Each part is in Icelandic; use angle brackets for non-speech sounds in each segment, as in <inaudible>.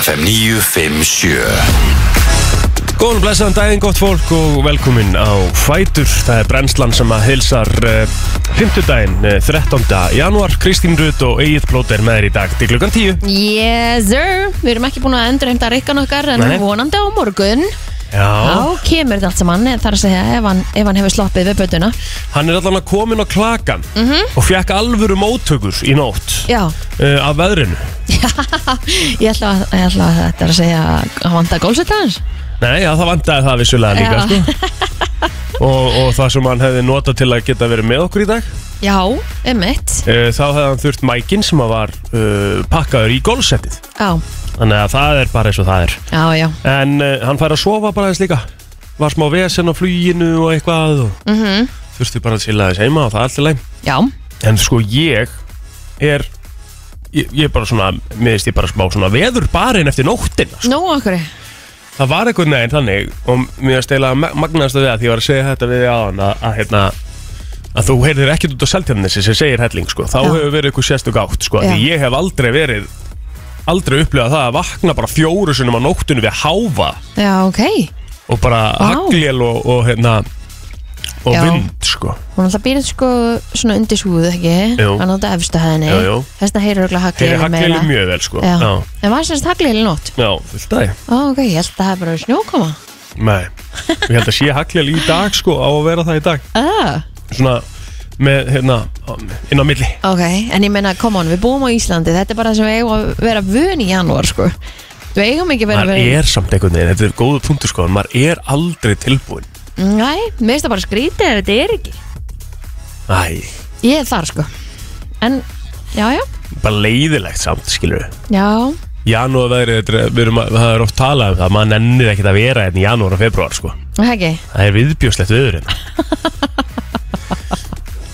FM 957 Góðan og blessaðan daginn, gott fólk og velkomin á Fætur. Það er brennslan sem að hilsar uh, 50 daginn, uh, 13. januar. Kristín Rut og Egil Blótt er með þér í dag til klukkan 10. Yes sir, við erum ekki búin að endur heimta rikkan okkar en Nei. vonandi á morgun Já. þá kemur þetta allt saman eða þar að segja ef hann, ef hann hefur sloppið við bötuna Hann er allan að komin á klakan og fekk alvöru móttökur í nótt Já, uh, af veðrinu. ég ætla, að- ég ætla að þetta er að segja að vanda gólsvita hans Nei, já, það vandaði það vissulega líka, Já. sko. Og, og það sem hann hefði notað til að geta verið með okkur í dag Já, emmitt uh, Þá hefði hann þurft mækin sem að var uh, pakkaður í golfsettið Já, Þannig að það er bara eins og það er já, já En uh, hann fær að sofa bara eins líka Var smá vesen á fluginu og eitthvað og mm Þurfti bara að silla þess heima og það er alltaf leið Já, En sko ég er Ég, ég er bara svona, miðist ég bara smá svona veður barinn eftir nóttina sko. nú okkur Það var einhvern veginn þannig Og mér er stela magnaðast að við að því ég var að segja þetta við á hann Að, að hérna að þú heyrðir ekkert út á seltjarnissi sem segir helling sko. þá Já. hefur verið eitthvað sérstök átt sko. Já. því ég hef aldrei verið aldrei upplifað það að vakna bara fjóru sinum á nóttunum við háfa Já, ok, og bara Vá. hagljel og, og hérna og Já. vind sko hún alltaf býrð sko svona undir súðu, ekki? Jú. Hann átta efstu hæðinni Jú, jú. Þess vegna heyrir örugglega þeir haglið eru hagljeli mjög vel sko Já. já, En var sérst haglið í nótt? já fullt aði Ó, ok, ég held að það er bara snjókoma nei, ég held að sé hagljel í dag sko á að vera það í dag Ah, svona með hérna inn á milli ok, en ég meina, come on, við búum á Íslandi Þetta er bara það sem við eigum að vera vön í janúar, sko Við eigum ekki að vera maður er samt einhvern veginn, þetta er góðu punktu sko en maður er aldrei tilbúin Næ, mér finnst það bara skrítið ef þetta er ekki Æ, Ég er þar, sko En, já, já, bara leiðilegt samt skilur við já Janúar veðrið, þetta er- við erum að, það er oft talað um það, maður nennir ekkert að vera hérna í janúar og februar sko Það er ekki Það er viðbjóslegt viður hérna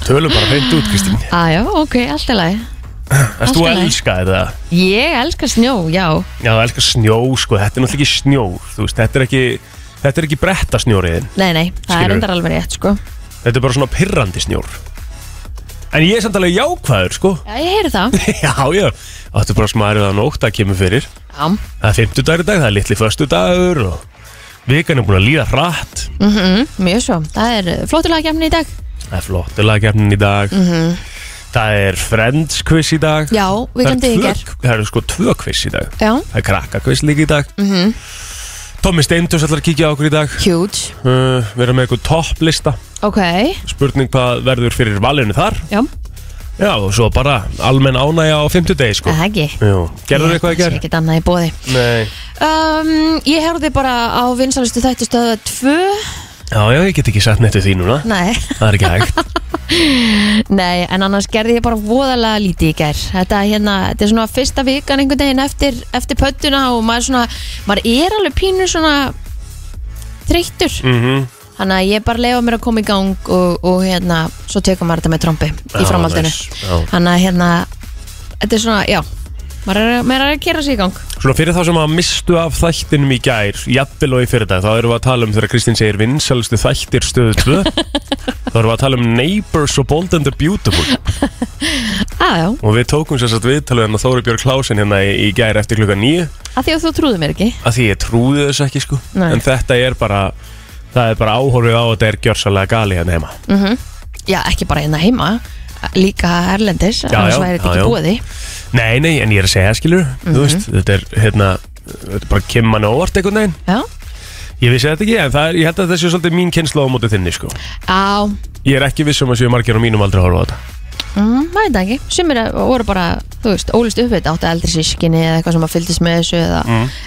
Tölum bara hreint út, Kristín Á, já, ok, allt er lagi Erst þú Allt í að lagi. elska þetta? Ég elska snjó, já Já, þú elskar snjó, sko, þetta er náttúrulega ekki snjó Þú veist, þetta er ekki, þetta er ekki bretta snjóriðin Nei, nei, það Skilurðu? er endar alveg rétt, sko Þetta er bara svona pirrandi snjór En ég er samt alveg jákvæður, <laughs> sko Já, ég heyri það Já, já, þetta er bara smarið að nótt að kemur fyrir <laughs> Já, Það er fimmtudagur í dag, það er litli föstudagur og vikan er búin að líða hratt mm mjög svo Það er flottulega kemni í dag Það er flottilega gefnin í dag Það er Friends quiz í dag Mhm. Já, Það við er kendið í tvö- ger Það eru sko tvö quiz í dag Já, Það er krakkakvist líka í dag mm -hmm. Tommi Steindus ætlar að kíkja á okkur í dag huge, uh, Við erum með eitthvað topplista ok Spurning hvað verður fyrir valinu þar Já, Já, og svo bara almenn ánægja á 50 degi sko það ekki Jú, gerður eitthvað í Ég gerð? sé ekkert annað í bóði Nei um, Ég herði bara á vinsalistu þættu stöða 2 Já, já, ég get ekki sagt nettu því núna Nei. Það er ekki hægt <laughs> Nei, en annars gerði ég bara voðalega lítið í gær Þetta, hérna, þetta er svona fyrsta vikan einhvern veginn eftir, eftir pöttuna og maður, svona, maður er alveg pínu svona þreyttur mm Þannig að ég bara leifa mér að koma í gang og, og hérna, svo tekum maður þetta með trombi í framhaldinu Já. Þannig að hérna, þetta er svona, já, maður er, maður er að gera sig í gang Svona fyrir þá sem að mistu af þættinum í gær Jafnvel og í fyrir dag Þá erum við að tala um þegar Kristín segir vinsalustu þættir stöðu 2 Þá erum við að tala um Neighbors og Bold and the Beautiful ah, Já, Og við tókum sér satt viðtalið hennar Þóri Björg Klásin hérna í, í gæri eftir klukka nýju að því að þú trúðu mér ekki að því ég trúði þess ekki sko Nei. En þetta er bara, það er bara áhorfið á að þetta er gjörsalega gali hérna heima Já, ekki bara hérna heima Líka Erlendis, já, annars væri þetta já, já. ekki búið í Nei, nei, en ég er að segja skilur Þú Mhm. veist, þetta er hérna Þetta er bara kemur mann á óvart einhvern veginn Já, Ég vissi þetta ekki, en það er, ég held að þetta sé svolítið mín kynsla á móti þinni sko á, Ég er ekki viss um að séu margir á mínum aldrei að horfa á þetta mm, maður þetta ekki Sumir voru bara, þú veist, ólist uppveit Áttu eldri sískinni eða eitthvað sem að fylgdist með þessu Eða,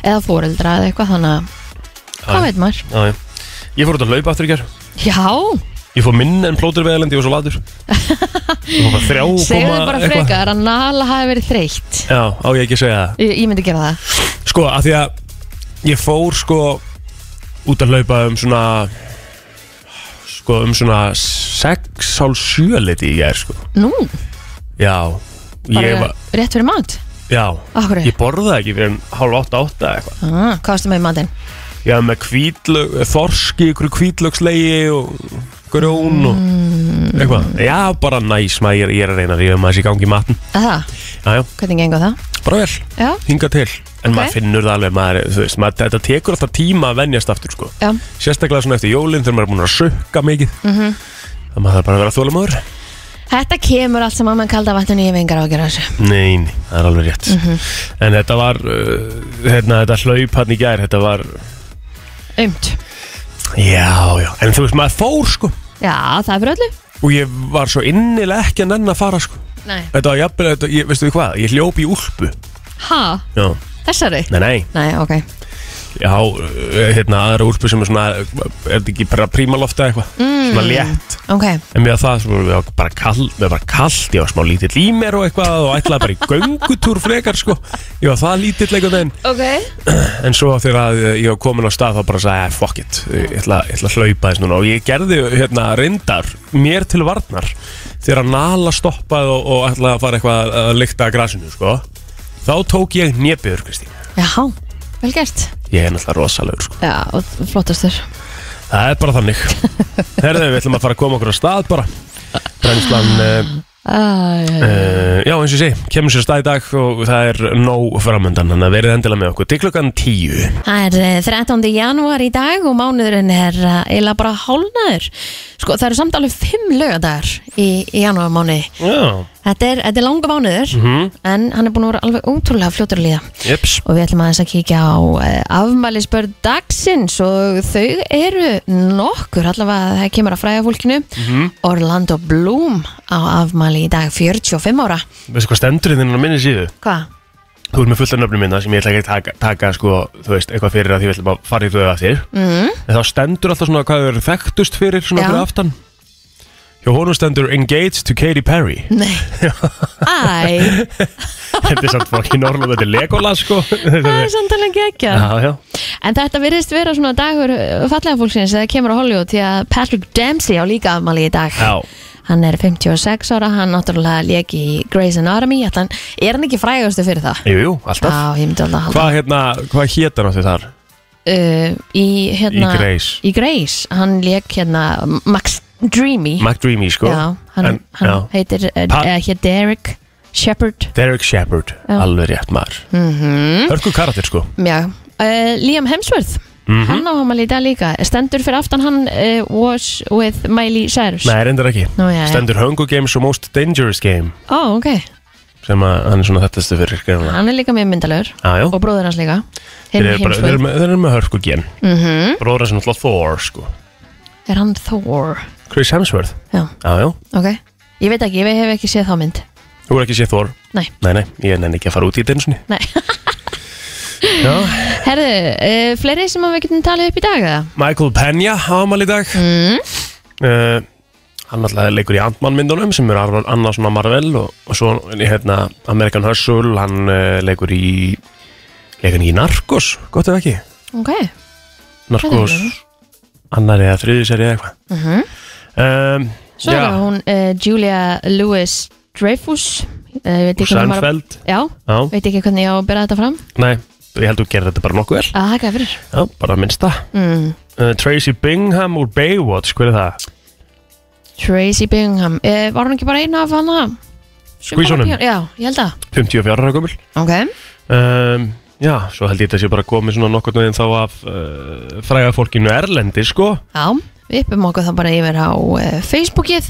eða fóreldra eða eitthvað Þannig að, Mm. Já. hvað veit maður? Já, já. Ég fór út að laupa aftur í ger Já, Ég fór minn en plótur veðalendi, ég var svo latur <laughs> Ég fór bara þrjá segðu komma þið bara eitthvað. frekar Að Nala hafi verið þreytt Já, á ég ekki að segja það Ég, ég myndi gera það Sko, af því að ég fór sko út að laupa um svona sko um svona 6 hálf 7 liti í ger sko Nú, Já, bara ég var rétt fyrir mat Já, Akkur ég borðaði ekki fyrir en hálf 8 8 eitthvað ah, Hvað varstu með í matinn? Ég var með kvítlög, þorski, ykkur kvítlögslegi og grjón og Mm. eitthvað Já, bara næs, maður, ég er- ég er að reyna að rífa maður þessi í gangi í matn Að Já, Það, já, hvernig gengur það? bara vel, Já. hinga til en Ok. maður finnur það alveg, maður, þú veist, maður, þetta tekur alltaf tíma að venjast aftur sko. Já. sérstaklega svona eftir jólinn þegar maður er búin að sökka mikið mm -hmm. það maður þarf bara að vera þólamóður Þetta kemur allt saman með kalda vatninu ég vengar á að gera þessu. Nein, það er alveg rétt En þetta var uh, hérna, Þetta hlaup hann í gær Þetta var, Umt. já, já En þú veist, maður fór sko Já, það er fyrir öllu. Og ég var svo innilega ekki að nenn að fara sko Nei. Þetta var jafnvel, þetta, ég, veistu við hvað Ég hljóp í úlpu Ha? Já, Þessari? nei, nei, Nei, ok. já, uh, hérna aðra úlpu sem er svona Er þetta ekki bara prímalofta eitthvað Mm. Svona létt Ok. En mér að það, svo, við var bara kalt, við var bara kalt, ég var smá lítill í mér og eitthvað og ætlaði bara í göngutúr frekar, sko. Ég var það lítill einhvern veginn. Ok. En svo þegar að eh, ég var komin á stað þá bara sagði ég, "Eh, fuck it, ég ætla, ég ætla að hlaupa þess núna og ég gerði hérna reyndar mér til varnar þegar að nala stoppaði og, og ætlaði að fara eitthvað að- að lykta að grasinu, sko þá tók ég nébjöður, Kristín Já, vel gert. ég er náttúrulega rosalegur, sko Já, og flottastur. það er bara þannig herðu, við ætlum að fara að koma okkur á stað bara brennslan, uh, Æ, uh, já eins og ég sé kemur sér stað í dag og það er nóg framöndan, þannig að verið endilega með okkur til klukkan 10 Það er eh, 13. janúar í dag og mánuðurinn er eh, eiginlega bara hálnaður. Sko, það eru samt alveg fimm lögadagar í, í janúarmánuði. já, Þetta er, þetta er langa mánuður, en hann er búin að vera alveg ótrúlega fljótur að líða. yps Og við ætlum aðeins að kíkja á eh, afmælisbörn dagsins og þau eru nokkur, allavega það kemur að fræða fólkinu. Orlando Bloom á afmæli í dag, 45 ára. veistu hvað stendur þinn á minni síðu? Hvað? Þú ert með fullt af nöfnum minna sem ég ætla ekki að taka, taka sko, þú veist, eitthvað fyrir að því við ætlum að fara í þau að þér Mm. En þá stendur alltaf svona hvað þau eru þekktust fyrir svona Já. fyrir aftan Hjá honum stendur Engaged to Katy Perry <laughs> Nei. Æ, Þetta er samt fokkin orðlega, þetta er Legolas sko Þetta það er er- samt alveg ekki <laughs> Já, já En þetta virðist vera svona dagur uh, fallega fólksins þegar það kemur á Hollywood því að Patrick Dempsey á líka afmæli í dag Já, Hann er 56 ára, hann náttúrulega lék í Grey's Anatomy ætli hann, Er hann ekki frægastu fyrir það? jú, jú, alltaf Já, ég myndi alltaf að halda Hvað hérna, hvað hétan á því þar? uh, Í hérna Í Grey's. Í Grey's, hann lék hérna Max Dreamy McDreamy sko Já, hann, En- hann já. heitir uh, Pa- uh, hér Derek Shepard Derek Shepard, Já. alveg rétt maður mm -hmm. Hörku karakter sko Já, uh, Liam Hemsworth mm Hann á afmæli í dag líka Stendur fyrir aftan hann uh, was with Miley Cyrus Nei, reyndar ekki Nú, já, já. Stendur Hunger Games og Most Dangerous Game Ó, ok, sem að hann er svona þættastu fyrir greina hann er líka mjög myndalögur Já, já og bróður hans líka Þeir Hinn eru, bara, þeir, eru heimsföld með, þeir eru með hörku gen Bróður sem alltaf Thor sko Er hann Thor? Chris Hemsworth Já, Já, já ok Ég veit ekki, ég hef ekki séð þá mynd Þú er ekki séð Thor Nei. Nei, nei Ég nenni ekki að fara út í þetta einu sinni Nei. <laughs> Já Herðu, uh, fleiri sem að við getum talið upp í dag eða? Michael Pena ámal í dag Mm. uh, Hann alltaf leikur í Ant-Man myndunum sem er annars svona Marvel og, og svo hérna American Hustle hann uh, leikur í leikur hann í Narcos gott ef ekki Ok, Narcos Það er verið. annar eða þriði seri eða eitthvað mm um, Svo er það hún uh, Julia Louis Dreyfus uh, Veit ekki hvernig maður Seinfeld Já, Já, veit ekki hvernig ég á að byrja þetta fram nei, ég held að þú gerir þetta bara nokkuð vel að haka fyrir Já, bara að minnsta mm. uh, Tracy Bingham úr Baywatch, hver er það? Tracy Bingham uh, Var hún ekki bara eina af hana? Squeeze-onum. Já, ég held að 54 ára gömul Ok, um, Já, svo held ég þetta sé bara komið svona nokkurnu en þá af uh, fræga fólkinu Erlendi, sko Já, við uppum okkur það bara yfir á uh, Facebookið.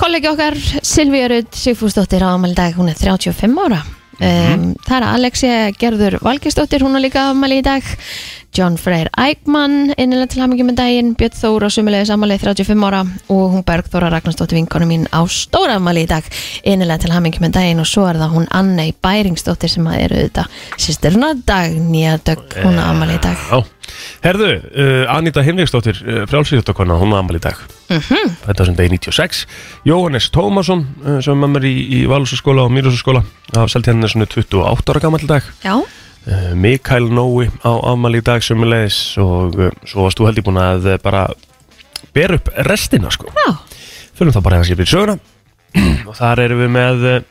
Kollegi okkar Silvíu Rudd Sigfúsdóttir á afmæli í dag, hún er 35 ára. Um, Það er Alexia Gerður Valgisdóttir, hún er líka afmæli í dag. John Freyr Eichmann, innilega til hamingjum með daginn, Björn Þór á sumulegis afmæli 35 ára og hún Bergþóra Ragnarsdóttir vinkonu mín á stóra afmæli í dag, innilega til hamingjum með daginn og svo er það hún Annei Bæringsdóttir sem að eru auðvitað sýstirna dag, nýja dögg, hún er afmæli í dag. Eh, Já, herðu, uh, Anita Hinriksdóttir uh, frjálsýðjóttakona, hún amal í dag Mhm. -hmm. Þetta sem degi 96 Jóhannes Tómasson, uh, sem er með mér í, í Valúsaskóla og Mýrúsaskóla af Seltjarnir 28 ára gamall í dag Já, Eh, Mikael Nói á afmæli í dag sömulegis og eh, svo varst þú heldig búin að eh, bara bera upp restina sko. já, Fölum þá bara hans ég byrja söguna <clears throat> og þar erum við með eh,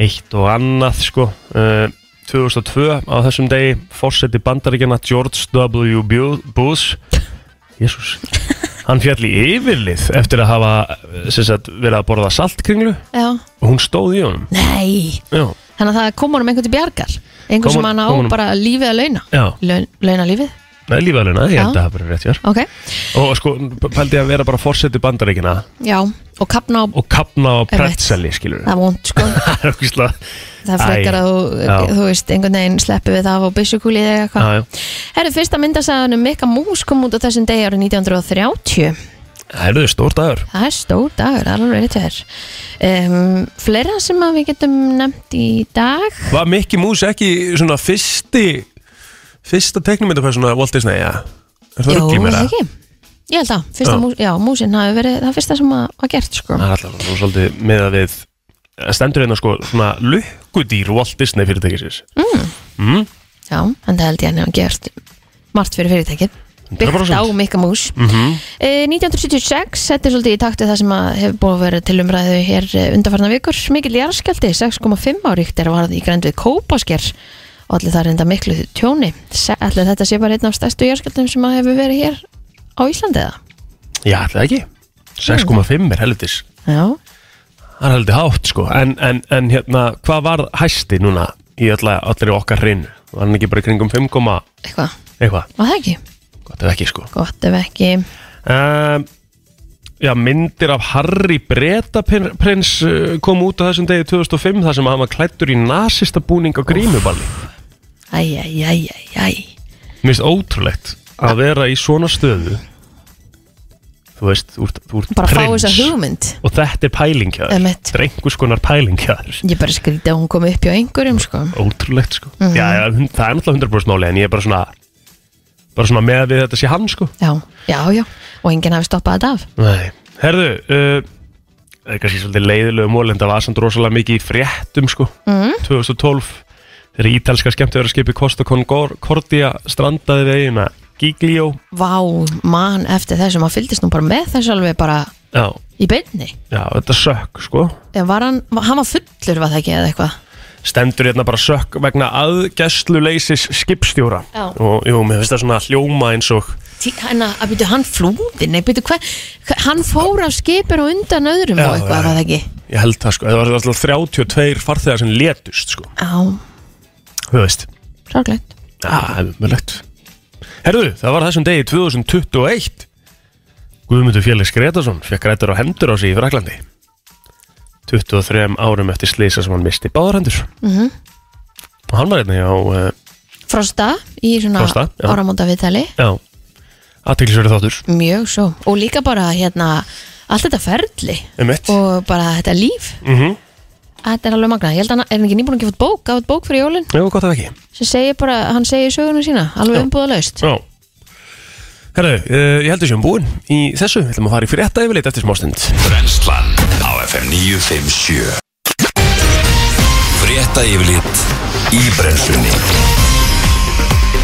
eitt og annað sko. Eh, 2002 á þessum degi fórseti bandaríkjana George W. Bu- Bush Jésús Hann fjall í yfirlið eftir að hafa eh, sem sagt, verið að borða saltkringlu já. og hún stóð í honum Nei, Já, Það þannig að það kom honum einhvern til bjargar einhvern Kom sem hon- hann á kom honum- bara lífið að launa Já, Laun, launa lífið, það er lífæluna, ég held að Já. það verið rétt hjá ok Og sko, pældi ég að vera bara fórseti bandaríkina já, og kapna á, og kapna á Einmitt. pretzeli, skilur það er vond <laughs> sko Það er okkur slag það er frekar Æ, að þú, já. þú veist, einhvern veginn sleppi við það á byssukúli eða eitthvað Herru, fyrsta myndasæðan um Mikka Mús kom út á þessum degi árið 1930. Það eru þau stór dagur Það er stór dagur, það er alveg rétt hér. Um, fleira sem að við getum nefnt í dag? Var Mickey Mouse ekki svona fyrsti fyrsta teknumyndapersona Walt Disney, já? Er það ruggli er mér það það? ekki? Ég held að, fyrsta Já. mús, já, músin hafi verið það fyrsta sem að var gert, sko. Það er alltaf nú svolítið með að við það stendur hérna sko svona lukkudýr Walt Disney fyrirtækisins Já, en það held ég að hann hafi gert margt fyrir fyrirtækið. Byggt 100%. á Mikka Mús. mm -hmm. Eh, 1976, þetta er svolítið í takti það sem að hefur búið að vera til umræðu hér eh, undanfarna vikur. Mikil jarðskjaldi, 6,5 áríkt er varð í grænd við Kópasker og allir það reynda miklu tjóni. Se- Ætli þetta sé bara einn af stærstu jarðskjaldum sem að hefur verið hér á Íslandi eða? Já, það er ekki 6,5 er helvitis Já, Það er heldur hátt sko en, en, en hérna, hvað var hæsti núna í alla, allir okkar hreinu? Var hann ekki bara í kringum 5, komma eitthvað. eitthvað? Var það ekki? Gott ef ekki sko Gott ef ekki. Um, já, myndir af Harry Bretaprins uh, kom út á þessum degi 2005 þar sem hann var klættur í nasista búning á grímuballi. Æj, æj, æj, æj, æj. Mér finnst ótrúlegt að vera í svona stöðu. Þú veist, þú ert, þú ert Bara fá prins þessa hugmynd. og þetta er pælingjaður. Einmitt. Þetta er einhvers konar pælingjaður. Ég bara skrítið að hún kom upp hjá einhverjum, sko. Ótrúlegt sko. Mhm. Já, já, hún- það er náttúrulega 100% máli en ég er bara svona, bara svona með að við þetta sé hann sko. Já, já, já. Og enginn hafi stoppað þetta af. Nei, herðu uh, Það er kannski svolítið leiðilegu mól En það var samt rosalega mikið í fréttum sko, 2012 Þegar ítalska skemmtöverðarskipi Costa Concordia strandaði við eigina Giglio Vá, mann eftir þessum að fylgdist nú bara með þessu alveg bara Já, í beinni. já þetta sökk sko En var hann, var- hann var fullur var það ekki eða eitthvað? Stendur hérna bara sökk vegna aðgæsluleysis skipstjóra Já. Og jú, mér finnst það svona hljóma eins og Tí- Hann að, að byrju hann flúði, nei byrju hvað, hva, hann fór af skipir og undan öðrum Já, og eitthvað já. var það ekki? Ég held það sko, það var alltaf 32 farþegar sem letust sko Já, Þú veist sorglegt. Það er umöðlegt Herðu, það var þessum degi 2021 Guðmundur Félix Gretarsson fekk rættur á hendur á sig í Fraklandi 23 árum eftir slýsa sem hann misti báðar hendur Mm og hann var einnig á uh, Frosta í svona Frosta, já. áramóta viðtali, já, aðteklisverið þáttur mjög svo. Og líka bara hérna, allt þetta ferli um eitt og bara þetta líf, mm -hmm. þetta er alveg magnað. Ég held að hann, er hann ekki nýbúin að gefa út bók, gaf út bók fyrir jólinn Jú, gott ef ekki sem segir bara, hann segir söguna sína, alveg umbúðalaust. Já Herðu, uh, ég heldur sem búin í þessu Við ætlum að fara í frétta yfirleitt eftir smástund Brenslan á FM 957 Frétta yfirlit í brenslunni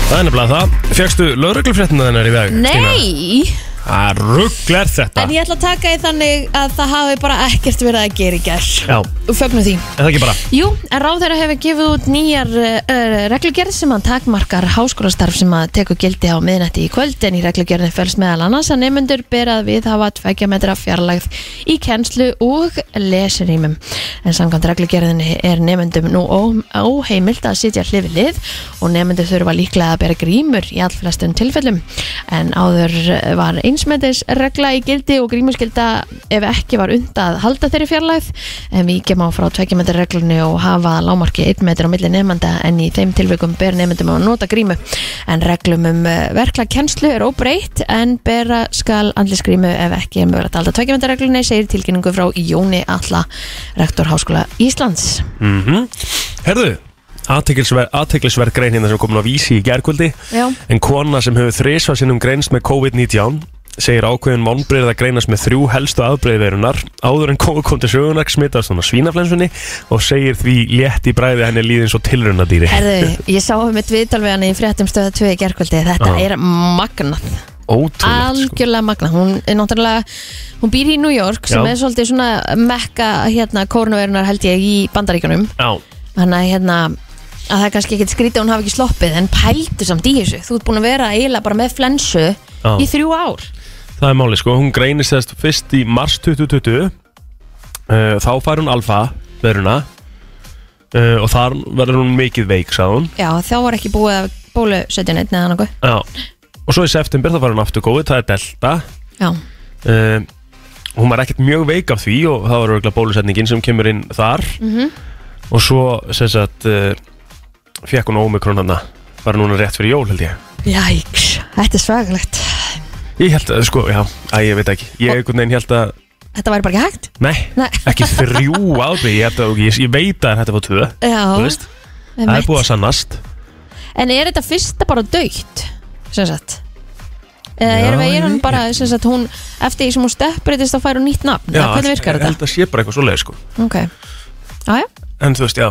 Það er nefnilega það Fjöxtu lögreglufréttina þennar í dag Stína? Nei! Það rugglar þetta En ég ætla að taka í þannig að það hafi bara ekkert verið að gera í gerð. Já, er Fögnum því. það ekki bara Jú, en ráðherra hefur gefið út nýjar uh, reglugerð sem að takmarkar háskólastarf sem að tekur gildi á miðnætti í kvöld en í reglugerðin fölst meðal annars að nefnendur ber að við hafa tveggja metra fjarlægð í kennslu og lesurýmum. En samkvæmt reglugerðinni er nefnendum nú ó- óheimilt að sitja hlið við lið og nefnendur þurfa líklega að bera grímur í allflestum tilfellum. En áður var einsmetis regla í gildi og grímuskilda ef ekki var undað halda þeirri fjarlægð en við gemma frá 2 metri reglunni og hafa að lámarki 1 metri á milli nefnda en í þeim tilvikum ber nefndum að nota grímu en reglum um verkla kennslu er óbreytt en bera skal andlis grímu ef ekki er mögulegt að halda 2 metri reglunni segir tilkynningu frá Jóni Alla rektor Háskóla Íslands mm Herðu, aðteglisverð grein hérna sem er komin á vísi í gerkvöldi Já, en kona sem hefur þrísvar sinnum greinst með COVID-19 segir ákveðin vonbreyð að greinast með þrjú helstu afbreyðverunar áður en COVID kom til sögunar smittast hún á svínaflensunni og segir því létt í bræði henni líðin svo tilraunadýri herðu, ég sá um eitt viðtal við hann í fréttum stöða 2 í gerkvöldi þetta Já. er magnað Ótrúlegt sko. algjörlega magna hún er náttúrulega, hún býr í New York sem Já. er svolítið svona mekka hérna kórnaveirunar held ég í bandaríkunum Já, þannig að hérna að það er kannski ekkert skrítið að hún hafi ekki sloppið en pældu samt í þessu, þú ert búin að vera eiginlega bara með flensu Já. í þrjú ár það er máli sko, hún greinist þess fyrst Eh, í mars 2020 uh, þá fær hún alfa veruna uh, og þar verður hún mikið veik, sagði hún Já, þá var ekki búið að bólusetja neitt neðan okkur Já. og svo í september þá var hún aftur góð það er Delta Já, uh, hún var ekkert mjög veik af því og það var örgulega bólusetningin sem kemur inn þar Mhm. og svo sem sagt uh, fekk hún ómikrón hana var núna rétt fyrir jól held ég jæks, þetta er svagalegt ég held að sko, já, að ég veit ekki ég einhvern veginn held að, Þetta væri bara ekki hægt nei, Nei. ekki þrjú ábygg ég, held að- ég, ég veit að þetta var tvö Já, þú veist, það er einmitt. búið að sannast En er þetta fyrsta bara dögt sem sagt eða Já, er við ég erum veit bara sem sagt hún eftir því sem hún stöppbreytist þá fær hún nýtt nafn já, hvernig virkar ég þetta? held að sé bara eitthvað svoleið sko Ok, aðja, en þú veist, já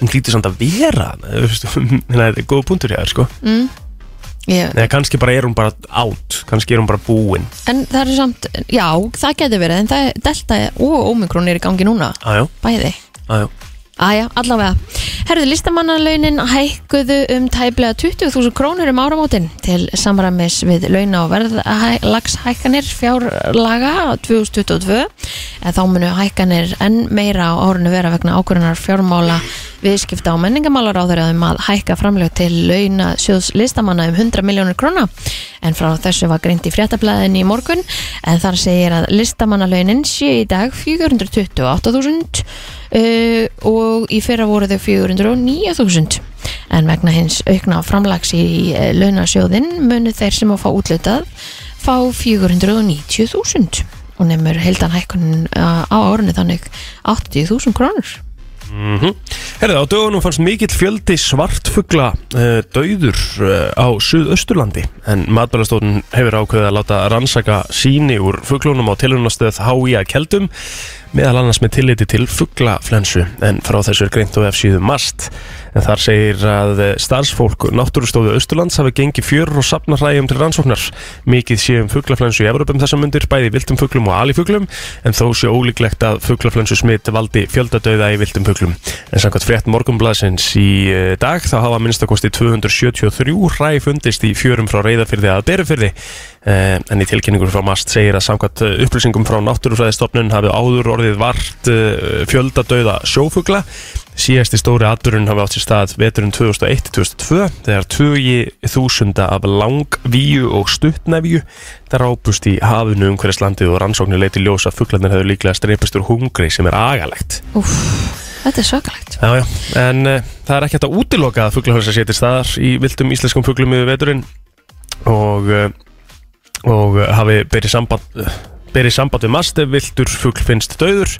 hún hlýtur samt að vera þarna, þú veist, <laughs> hún- þannig að þetta er góð punktur hjá þér sko ég, Nei, kannski bara er hún bara átt kannski er hún bara búin en það er samt já, það getur verið, en það er delta og ómikrón er í gangi núna, aðjó, bæði aðjó aðja, allavega, herðu listamannalaunin hækkuðu um tæplega 20.000 krónur um áramótin til samræmis við launa og verðlagshækkanir fjárlaga 2022 en þá munu hækkanir enn meira á árinu vera vegna ákvörunar fjármála viðskipta og menningamálar á þeirra um að hækka framlög til launa sjóðs listamanna um 100 miljónur króna en frá þessu var greint í fréttablaðin í morgun en þar segir að listamannalaunin sé í dag 428.000 uh, og í fyrra voru þau 409.000 en vegna hins aukna framlags í uh, launasjóðin munu þeir sem að fá útlutað fá 490.000 og nemur heildan hækkunin uh, á árunni þannig 80.000 krónur Mm Herðið, á dögunum fannst mikill fjöldi svartfugla uh, dauður uh, á Suðausturlandi en matbælastóttin hefur ákveðið að láta rannsaka síni úr fuglunum á tilhörnastöð H.I.A. Keldum meðal annars með tilliti til fuglaflensu en frá þessu er greint á F7 mast en þar segir að eh, starfsfólk náttúrustóðu Austurlands hafi gengið fjörur og sapnarrægjum til rannsóknar mikið sé um fuglaflensu í Evrópum þessar mundir bæði í viltum fuglum og alifuglum en þó sé ólíklegt að fuglaflensu smitt valdi fjöldadauða í viltum fuglum en samkvæmt frétt morgumblasins í eh, dag þá hafa minnstakosti 273 ræ fundist í fjörum frá reyðafyrði að berufyrði Eh, en í tilkynningur frá MAST segir að samkvæmt eh, upplýsingum frá náttúrufræðistofnun hafi áður orðið vart eh, fjöldadauða sjófugla síðasti stóri aðdurinn hafi átt sér stað veturinn 2001-2002 þegar 20.000 af langvíu og stuttnefju drápust í hafinu umhverjast landið og rannsóknir leiti ljós að fuglarnir hefur líklega streipist úr hungri sem er agalegt Úf, þetta er svakalegt Já, já, en uh, það er ekki hægt að útiloka að fuglahörsa sétir staðar í viltum íslenskum fuglum yfir veturinn og, uh, og uh, hafi berið samband, uh, berið samband við mast ef viltur fugl finnst dauður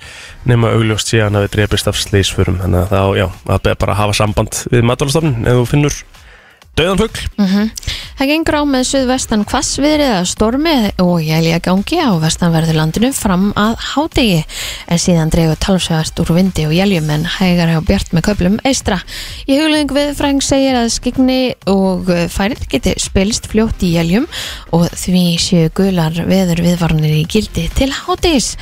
nema augljóst sé að hann hafi drepist af slísförum þannig að þá, já, að ber bara að hafa samband við matvælastofnun ef þú finnur dauðan fugl Það gengur á með suðvestan hvassviðrið að stormi og jælja gangi á vestanverðu landinu fram að hádegi en síðan dregur talsvegast úr vindi og jæljum en hægar hjá bjart með köplum eistra. Í hugleðing við Frank segir að skikni og færið geti spilst fljótt í jæljum og því séu gular veður viðvarnir í gildi til hádegis.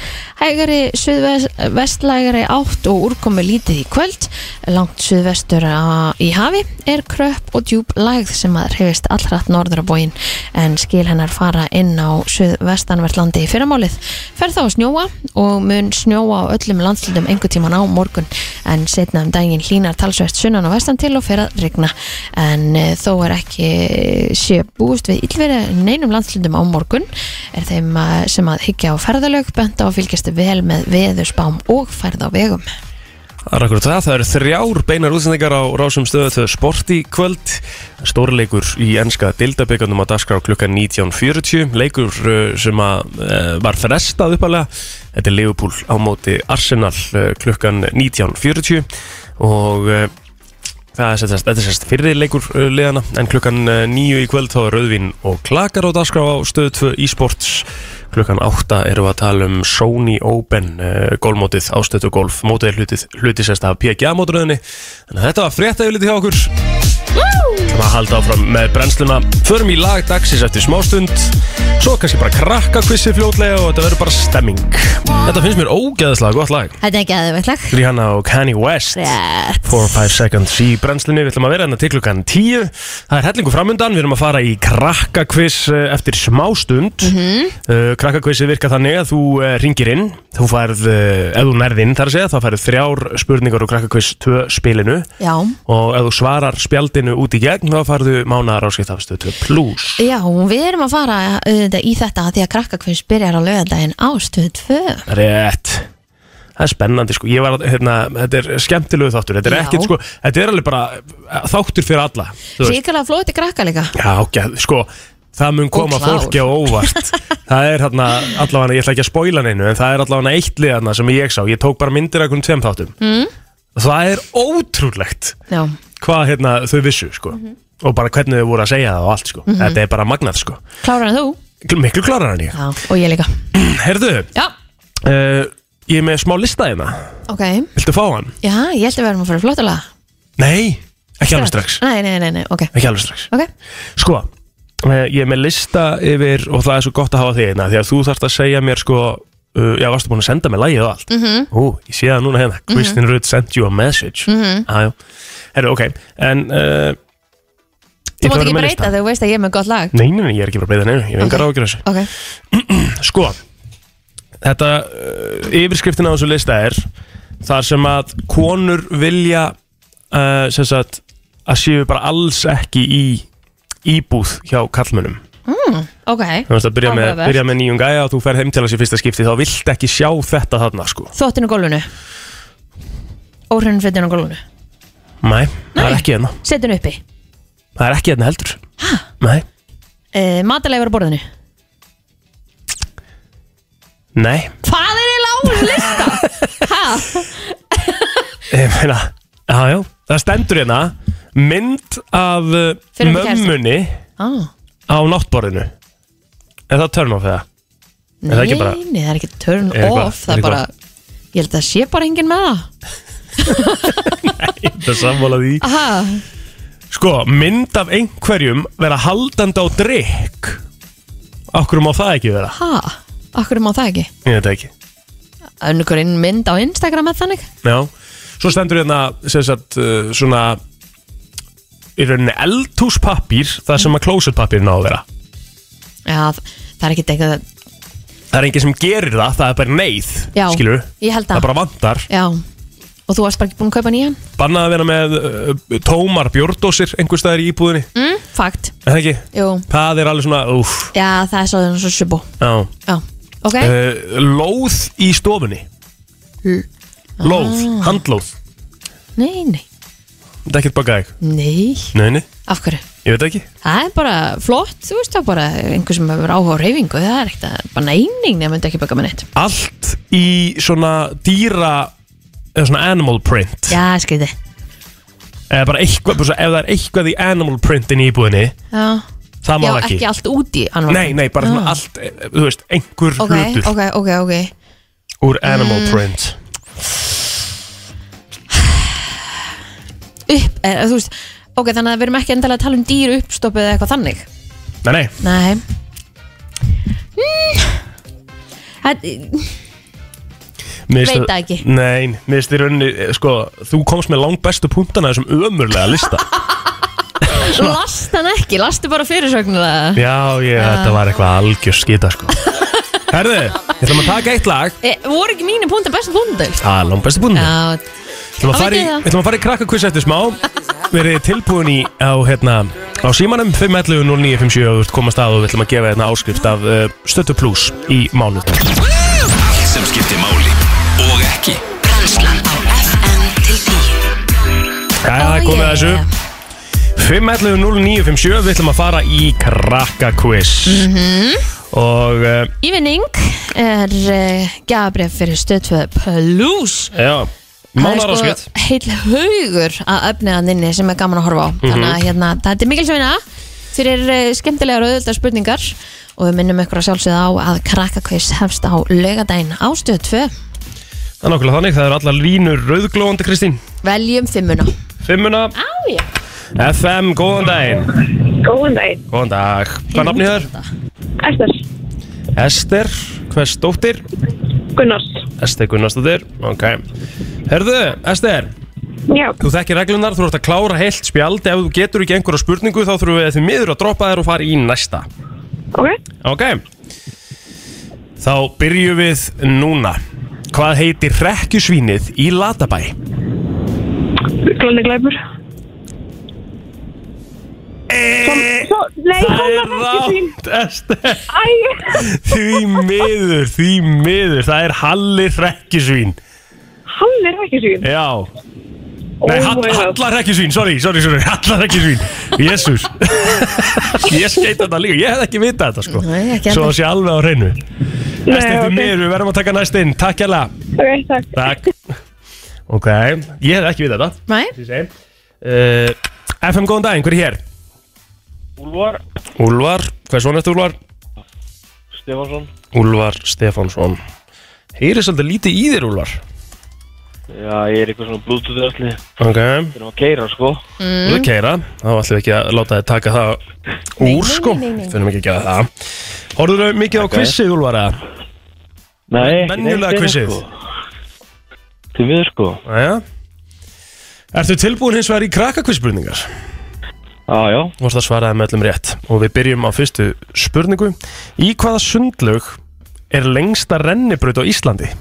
Hægari suðvestlægari átt og úrkomi lítið í kvöld langt suðvestur á- í hafi er kröpp og djúb lægð sem að reyfist allrætt norður á bógin en skil hennar fara inn á suðvestanvertlandi í fyrramálið fer þá að snjóa og mun snjóa á öllum landslutum einhver tíman á morgun en setna um daginn hlínar talsvert sunnan og vestan til og fer að rigna en eh, þó er ekki eh, sé búist við illveri neinum landslutum á morgun er þeim eh, sem að higgja á ferðalög benda og fylgjast vel með veðurspám og færð á vegum Það er akkur það, það eru þrjár beinar útsendingar á rásum stöðu þau sport í kvöld Stórleikur í enska dildabökandum á dagskrá klukkan 19.40 Leikur uh, sem að, uh, var frestað uppalega Þetta er Leopold á móti Arsenal uh, klukkan 19.40 Og uh, það er sérst, þetta er sérst fyrir leikur uh, liðana En klukkan uh, 9 í kvöld þá er Rauðvin og Klakar á dagskrá á stöðu 2 í sports klukkan 8 erum við að tala um Sony Open uh, gólmótið ástötu gólf, mótið er hlutið, hlutið sérst af PGA mótröðinni, þannig að þetta var frétta yfirlítið hjá okkur sem að halda áfram með brennsluna förum í lag dagsins eftir smástund svo kannski bara krakka kvissi fljótlega og þetta verður bara stemming þetta finnst mér ógeðslega gott lag Þetta er ekki aðeins lag Rihanna og Kanye West Rétt 4-5 seconds í brennslunni, við ætlum að vera hérna til klukkan 10 Það er hellingu framundan, við erum að fara í krakkakviss eh, eftir smástund mm -hmm. krakkakvissið virka þannig að þú uh, ringir inn, þú færð, uh, ef þú nærð inn þar að segja, þá færð þrjár spurningar úr krakkakviss 2 spilinu Já, og ef þú svarar spjaldinu út í gegn, þá færðu mánaðar áskiptafstöð 2 plus. já, við erum að fara auðvitað, í þetta af því að krakkakvins byrjar á lögadaginn á stöð 2 Rétt. Það er spennandi sko, ég var, að- hérna, þetta er skemmtilegu þáttur, þetta er Já. ekkert sko, þetta er alveg bara eh, þáttur fyrir alla. þú veist. Ríkilega flóti krakka líka Já, ok, sko Það mun koma klár. fólki á óvart Það er hérna, allavega, ég ætla ekki að spoila neinu En það er allavega eitt lið hérna sem ég sá Ég tók bara myndir af einhvern tveim þáttum mm. Það er ótrúlegt Já, Hvað hérna þau vissu, sko Og bara hvernig þau voru að segja það og allt, sko Þetta er bara magnað, sko klárar en þú? Gl- Miklu klarar en ég Já, og ég líka Herðu, Já, uh, ég er með smá lista hérna ok Viltu fá hann? Já, ég held að við erum að fara flottulega Nei, ekki alveg strax Nei, nei, nei, nei, ok Ekki alveg strax Ok, Sko, eh, ég er með lista yfir og það er svo gott að hafa þig einna því að þú þarft að segja mér sko uh, já, varstu búin að senda mér lagið og allt Mhm. -hmm. Ú, ég sé það núna hérna, Kristin Rudd sent you a message mm Mhm. -hmm. ah, Herru, ok, en uh, þú mátt ekki breyta þegar þú veist að ég er með gott lag Nei, nei, nei, ég er ekki bara að breyta neinu, ég hef engar okay. ágjur þessu Ok, Sko, þetta uh, yfirskriftin á þessu lista er þar sem að konur vilja uh, sem sagt að séu bara alls ekki í íbúð hjá kallmönnum ok Þú veist að byrja með, Áhugavert. byrja með nýjum gæja og þú fer heim til þessi fyrsta skipti þá vilt ekki sjá þetta þarna sko Þóttinu gólfinu Óhrunum fötinu gólfinu Nei, það er ekki hérna Setinu uppi Það er ekki hérna heldur Hæ? Nei, uh, Mataleifur á borðinu nei Hvað er í lágum <laughs> lista? Hæ? Ég meina, jájá, það stendur hérna mynd af uh, Fyrir um kærasta. mömmunni Ah, á náttborðinu Er það törn á fyrir <laughs> það? nei, það ekki bara- nei, það er ekki turn Er eitthvað- off Það er er bara, ég held að það sé bara enginn með það Það sammála því Aha, Sko, mynd af einhverjum vera haldandi á drikk Okkur má það ekki vera? ha, akkur má það ekki Ég veit það ekki Önnugur inn mynd á Instagram eða þannig Já, svo stendur hérna sem sagt, uh, svona í rauninni eldhúspappír þar sem að klósetpappírin á að vera Já, þ- það er ekki eitthvað það er enginn sem gerir það, það er bara neyð Já, skilur, ég held að það bara vantar Já, og þú varst bara ekki búin að kaupa nýjan bannað að vera með uh, tómar bjórdósir einhvers staðar í íbúðinni, mm, Fakt, er það ekki? jú það er alveg svona, uff Já, það er svo, svo sjöbú uh, Já, ok Eh. lóð í stofunni L- lóð, Ah. handlóð, Nei, nei, þetta er ekkert bakað ekki nei neini, Af hverju? ég veit ekki Það er bara flott, þú veist það bara einhver sem hefur áhuga á reyfingu, það er ekkert að bara neyning nefnum myndi ekki baka með neitt allt í svona dýra eða svona animal print Já, skriði eða bara eitthvað, bara svo, ef það er eitthvað í animal printin í íbúðinni, Já, það má Já það ekki. ekki. allt úti Nei, nei, bara svona allt, eh, þú veist, einhver Ok, hlutur ok, Mm. ok, ok úr animal print. Upp, er, þú veist, ok, þannig að við erum ekki endalega að tala um dýr uppstoppið eða eitthvað þannig Nei, nei, Nei mm. Það, mér finnst Veit það- það ekki. Nei, mér finnst í rauninni, eh, sko, þú komst með langt bestu punktana af þessum ömurlega lista. Last hann ekki, lastu bara fyrirsögnuna <laughs> Já, ég, Ah. þetta var eitthvað algjör skita, sko. Herðu, við ætlum að taka eitt lag. e, Voru ekki mínu púnta bestu púnta? Það er Ah, langt bestu punktana. Já, Við ætlum að Það fara í- veit ég það. við ætlum að fara í krakkakviss eftir smá Verið tilbúin í á, hérna, á símanum 511 0957 og þú ert komast að og við ætlum að gefa hérna áskrift af uh, Stöttu Plus í mánuð Allt sem skiptir máli og ekki Brennslan á FM til 10 Jæja, Oh, það er komið að þessu 511 0957 við ætlum að fara í krakkakviss Mhm. og uh, Ívinning er uh, gafabref fyrir stöðtöð Plus já, Það mánar er áskrift sko heil haugur að öfniðan inni sem er gaman að horfa á Þannig að hérna, þetta er mikil sveina fyrir uh, skemmtilegar og auðvöldar spurningar og við minnum ykkur að sjálfsögða á að krakkakvist hefst á laugadaginn á stöð 2 Það er nákvæmlega þannig, það eru allar línur rauðglóðandi Kristín Veljum fimmuna Fimmuna, Ájá Ah. FM, góðan daginn Góðan daginn, Góðan dag, hvað er nafnið þér? Esther Ester, hvers dóttir? Gunnars Ester Gunnarsdóttir Ok Herðu, Ester, Já, þú þekkir reglunar, þú ert að klára heilt spjald Ef þú getur ekki einhverja spurningu þá þurfum við því miður að droppa þér og fara í næsta ok Ok Þá byrjum við núna Hvað heitir rekkjusvínið í Latabæ? Glandi glæpur Eh, Svo, nei, Það hann er var ekki sín rátt, Ester Æ, Því miður, því miður Það er Halli rekkjusvín hann er ekki sín Já Nei, Oh hall, my God. hallar ekki svín, sorry, sorry, sorry, hallar ekki svín Jésús <laughs> Ég skeit þetta líka, ég hef ekki vitað þetta sko Nei, ekki Svo heldur. það sé alveg á hreinu Nei, Æstir því ok. miður, við verðum að taka næst inn, takk hérlega Ok, takk Takk Ok, ég hef ekki vitað þetta Nei, Því segi. uh, FM, góðan daginn, hver er hér? Úlvar Úlvar, hvað svona eftir Úlvar? Stefánsson Úlvar Stefánsson Heyri svolítið lítið í þér, Úlvar Já, ég er eitthvað svona bluetooth öllu Þeir Ok, mm. eru að keira, sko þú keira Þá ætlum við ekki að láta þið taka það úr, sko Finnum ekki að gera það Horfðu mikið á quizið, Úlvar, eða? Nei, ekki Venjulega neitt, quizið. sko. Til miður, sko Jæja Ertu tilbúin hins vegar í krakkakvistspurningar? Já, já Þú varst að svaraði með öllum rétt og við byrjum á fyrstu spurningu Í hvaða sundlaug er lengsta rennibraut á Íslandi?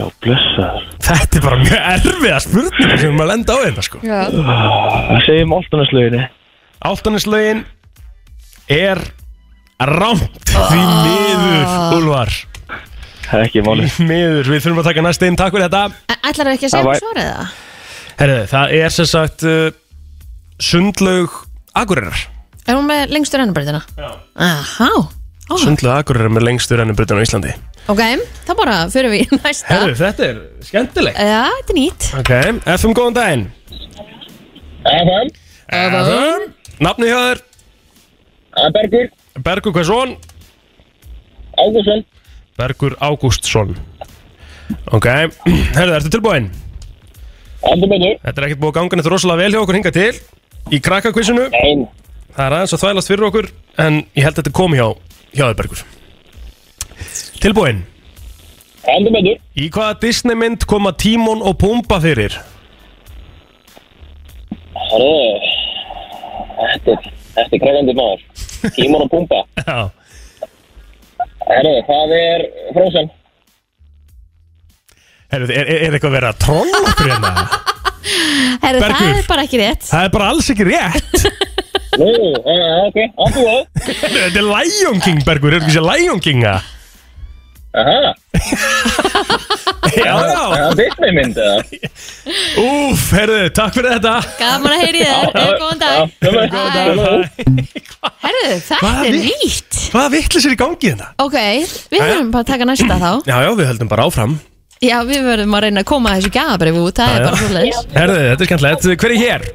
Já, blessaður Þetta er bara mjög erfiða spurninga sem við erum að lenda á þetta sko já, Það segjum Altanarslauginni Áltaneslaugin er rámt því miður, Úlfar Það er ekki máli Því miður, við þurfum að taka næst einn takk fyrir þetta ætlar ekki að Það segja var- um svarið það? Herðu, það er sem sagt uh, sundlaug Akureyrar Er hún með lengstu rennabröðina? Já Aha, ó, Sundlaug Akureyrar er með lengstu rennibrautin á Íslandi ok, þá bara fyrir við í næsta Herru, þetta er skemmtilegt Já, þetta er nýtt Ok, FM góðan daginn FM FM Nafni hjá þér Bergur Bergur hvað svon? Ágústsson Bergur Ágústsson Ok, herru, ertu tilbúin? Endur með Þetta er ekkert búið að ganga neitt rosalega vel hjá okkur hinga til Í krakkakvissinu Nein Það er aðeins að þvælast fyrir okkur En ég held að þetta komi hjá, hjá þér Bergur Tilbúin Í hvaða Disney mynd koma Tímon og Pumba fyrir? Þetta er- þetta er krefjandi maður. Tímon og Pumba. Já Herru, það er Frozen. Heru, er, er, er eitthvað verið að trolla okkur <laughs> hérna? Herðu, það Bergur. er bara ekki rétt Það er bara alls ekki rétt Nú, uh, ok, áttu það. Þetta er Lion King, Bergur, er þetta ekki sér Lion Kinga? Aha, Já, já það er Disney mynd <laughs> eða? Úf, herðu, takk fyrir þetta Gaman að heyri þér, eða góðan dag Góðan Hvað Herðu, Hvað þetta er við- nýtt Hvaða vitlis er í gangi hérna? Ok, við Jæja. verðum bara að taka næsta <clears throat> þá Já, já, við höldum bara áfram Já, við verðum að reyna að koma þessu gafabreif út Það er Jæja. bara svoleiðis Herðu, þetta er skemmtilegt, hver er hér?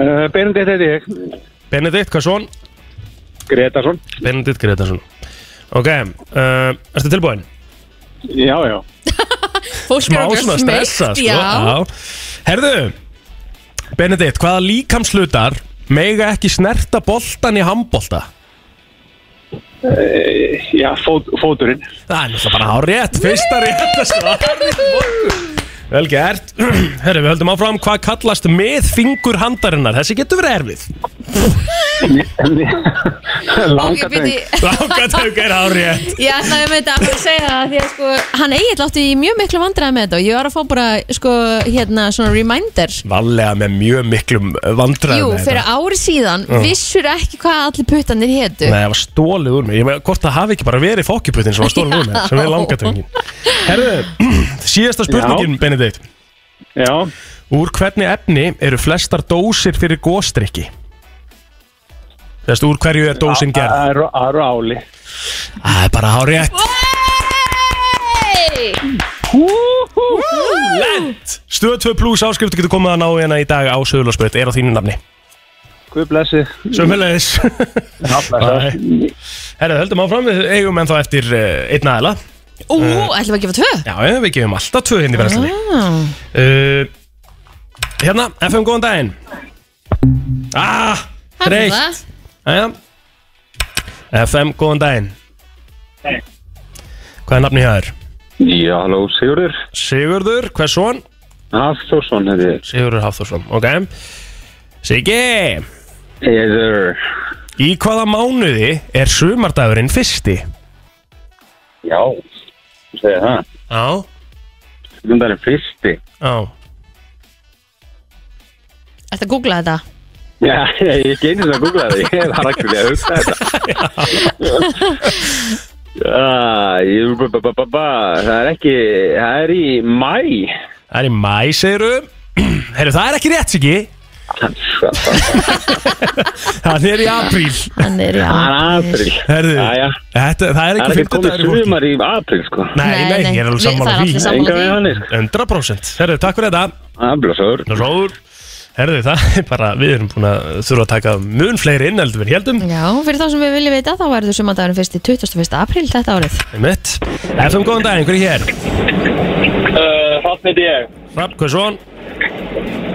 uh, Benedikt heiti ég Benedikt, hvað svon? Gretarsson Benedikt Gretarsson Ok, uh, erstu tilbúin? Já, já Fólk Smá er okkur svona smeykt, stressa, sko Já, Herðu, Benedikt, hvaða líkamslutar mega ekki snerta boltan í handbolta? Eh, Já, fót, fóturinn Það er náttúrulega bara hár rétt, fyrsta sko. rétt að svara Vel gert <clears throat> Herru, við höldum áfram hvað kallast miðfingur handarinnar Þessi getur verið erfið <laughs> ok, byrju Langatöng er hár rétt Ég ætlaði með þetta að fara að segja það því að sko, hann eigið látti í mjög miklu vandræði með þetta og ég var að fá bara sko, hérna, svona reminder Vallega með mjög miklum vandræðum Jú, með fyrir þetta. ári síðan vissur ekki hvað allir puttanir hétu Nei, það var stólið úr mig Ég með hvort það hafi ekki bara verið fokkjuputin sem var stólið úr mig sem er langatöngin Herru, <clears throat> síðasta spurningin, Benedikt Já Úr hvernig efni eru flestar dósir fyrir góstrykki? Þessi, úr hverju er dósin gerð? Það eru- það eru áli Það er bara hár rétt Hey! Lent Stöð 2 pluss áskriftu getur komið að ná hérna í dag á Söðurlósbraut Er á þínu nafni Guð blessi Sömmulegis Herðu, höldum áfram Við eigum ennþá eftir uh, einn aðila Ú, ætlum við að gefa tvö Já, já, við gefum alltaf tvö hérna hindi verðsli ah, uh, Hérna, FM góðan daginn Ah, það er reitt það. Jæja FM góðan daginn Hvað er nafni hjá þér? Já, halló, Sigurður Sigurður, hvers son? Hafþórsson hefði Sigurður Hafþórsson, ok Siggi Heiður Í hvaða mánuði er sumardagurinn fyrsti? Já, þú segir það. Já Sumardagurinn fyrsti. Já Þetta googla þetta Já, ég er ekki einu sem að googla það. Ég var ekki að hugsa þetta. <laughs> Já, ég, ba, ba, ba, ba, ba. það er ekki, það er í mæ. Það er í mæ, <clears throat> segirum Herru, það er ekki rétt, Siggi Það er í apríl Hann er í Það er apríl. april. Herru, Jæja. þetta, það er Það er ekki ekki komið fimmtudagur í fólki sumar í april, sko. Nei, nei, ég er alveg við- sammála það því. er allir sammála Enga því. við þannig, sko. 100% Herru, takk fyrir þetta Það er blöðsögur. Róður Herðu, það er bara, við erum búin að þurfa að taka mun fleiri inn heldur við heldum Já, fyrir þá sem við viljum vita þá verður sumandagurinn fyrst í 21. apríl þetta árið Einmitt FM, góðan dag, einhverju hér Uh, Hrafn heiti ég, Hrafn Kvösson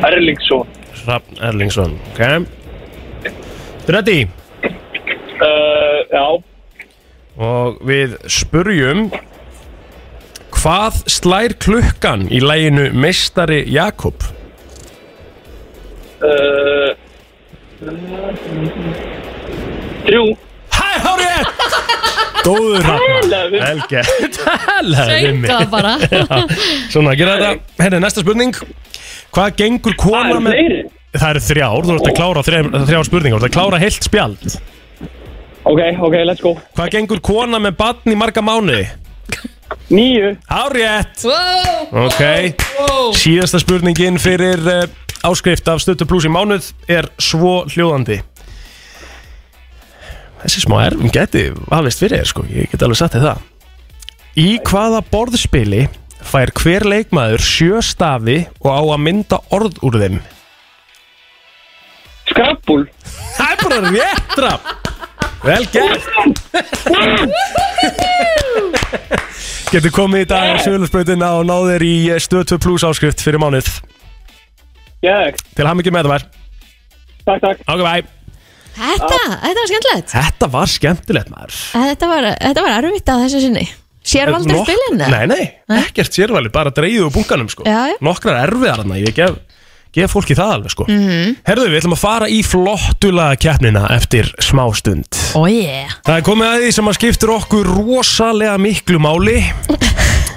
Erlingsson Hrafn Erlingsson, ok Ready uh, Já, Og við spurjum Hvað slær klukkan í læginu Meistari Jakob? uh, Þrjú Hæ, hárið! Góður Hrafn Helvið. Helgett Helgett Enga bara Svona, gera þetta. Hérna, næsta spurning. Hvað gengur Það kona eru með... fleiri Það eru þrjár, þú ert að klára þrjár, þrjár spurningar, þú ert að klára heilt spjald. Ok, ok, let's go Hvað gengur kona með barn í marga mánuði? Níu Hárétt! Wow, Ok, síðasta spurningin fyrir uh, áskrift af stöttu pluss í mánuð er svo hljóðandi. Þessi smá erfum geti hafist fyrir þér, sko, ég get alveg satt til það. Í hvaða borðspili fær hver leikmaður sjö stafi og á að mynda orð úr þeim? Skrappul Það er bara réttra Vel gert Getur komið í dag á Sjölusbrautina og náðir í stöð 2 plus áskrift fyrir mánuð Gæk, Til hann ekki með það var takk, takk okay, bye. Þetta, þetta var skemmtilegt Þetta var skemmtilegt maður Þetta var, þetta var erfitt að þessu sinni Sérvaldur Nokk- spilin Nei, nei, ekkert sérvali, bara dreigðu úr bunkanum sko. Já, já. Nokkrar erfiðar hann, ég gef, gef fólki það alveg sko. Mhm. -hmm. Herðu, við ætlum að fara í flottulega keppnina eftir smástund Ó ég Það er komið að því sem að skiptir okkur rosalega miklu máli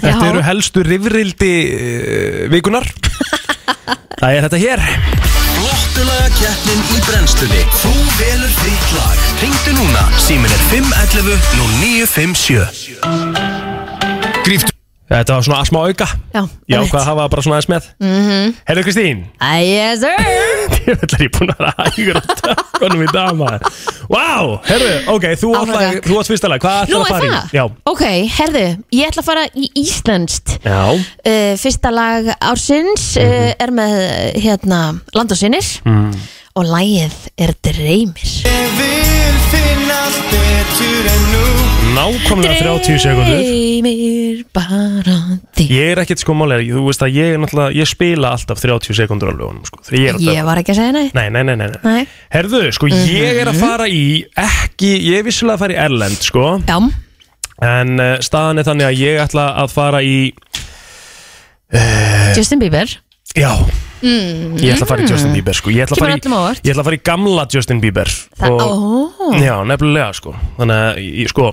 Þetta <laughs> Já. eru helstu rifrildi uh, <laughs> vikunar Það er þetta hér Flottulega keppnin í brennstunni Þú velur þitt lag Ringdu núna, símin er 511 0957 Gríftu Þetta var svona smá auka Já, Já, einmitt. Mhm. hvað hafa bara svona aðeins með mm -hmm. Herðu Kristín Æ, yes sir Ég ætla ég búin að hægur að tökunum í dag maður Vá, herðu, ok, þú Áfram ætla takk. Þú átt fyrsta lag, hvað Nú ætla að er fara í? það? Já, Ok, herðu, ég ætla að fara í Íslandst já, uh, Fyrsta lag ársins uh, Mhm. er með eh, hérna, Land og sinir og lagið er Dreymir nákvæmlega 30 sekundur Dreymir bara þig Ég er ekkert sko málega, þú veist að ég er náttúrulega, ég spila alltaf 30 sekundur á lögunum sko, þegar ég er að Ég var ekki að segja næ Nei, nei, nei, nei, nei. Nei. Herðu, sko, ég Mhm. er að fara í ekki, ég er vissulega að fara í Erlend, sko Já, en uh, staðan er þannig að ég ætla að fara í Eh. Justin Bieber já, ég ætla að fara í Justin Bieber, sko ég ætla, að Mm. Kemur fara öllum á óvart. í, ég ætla að fara í gamla Justin Bieber og, Það, ó, Já, nefnilega, sko þannig að, ég- sko,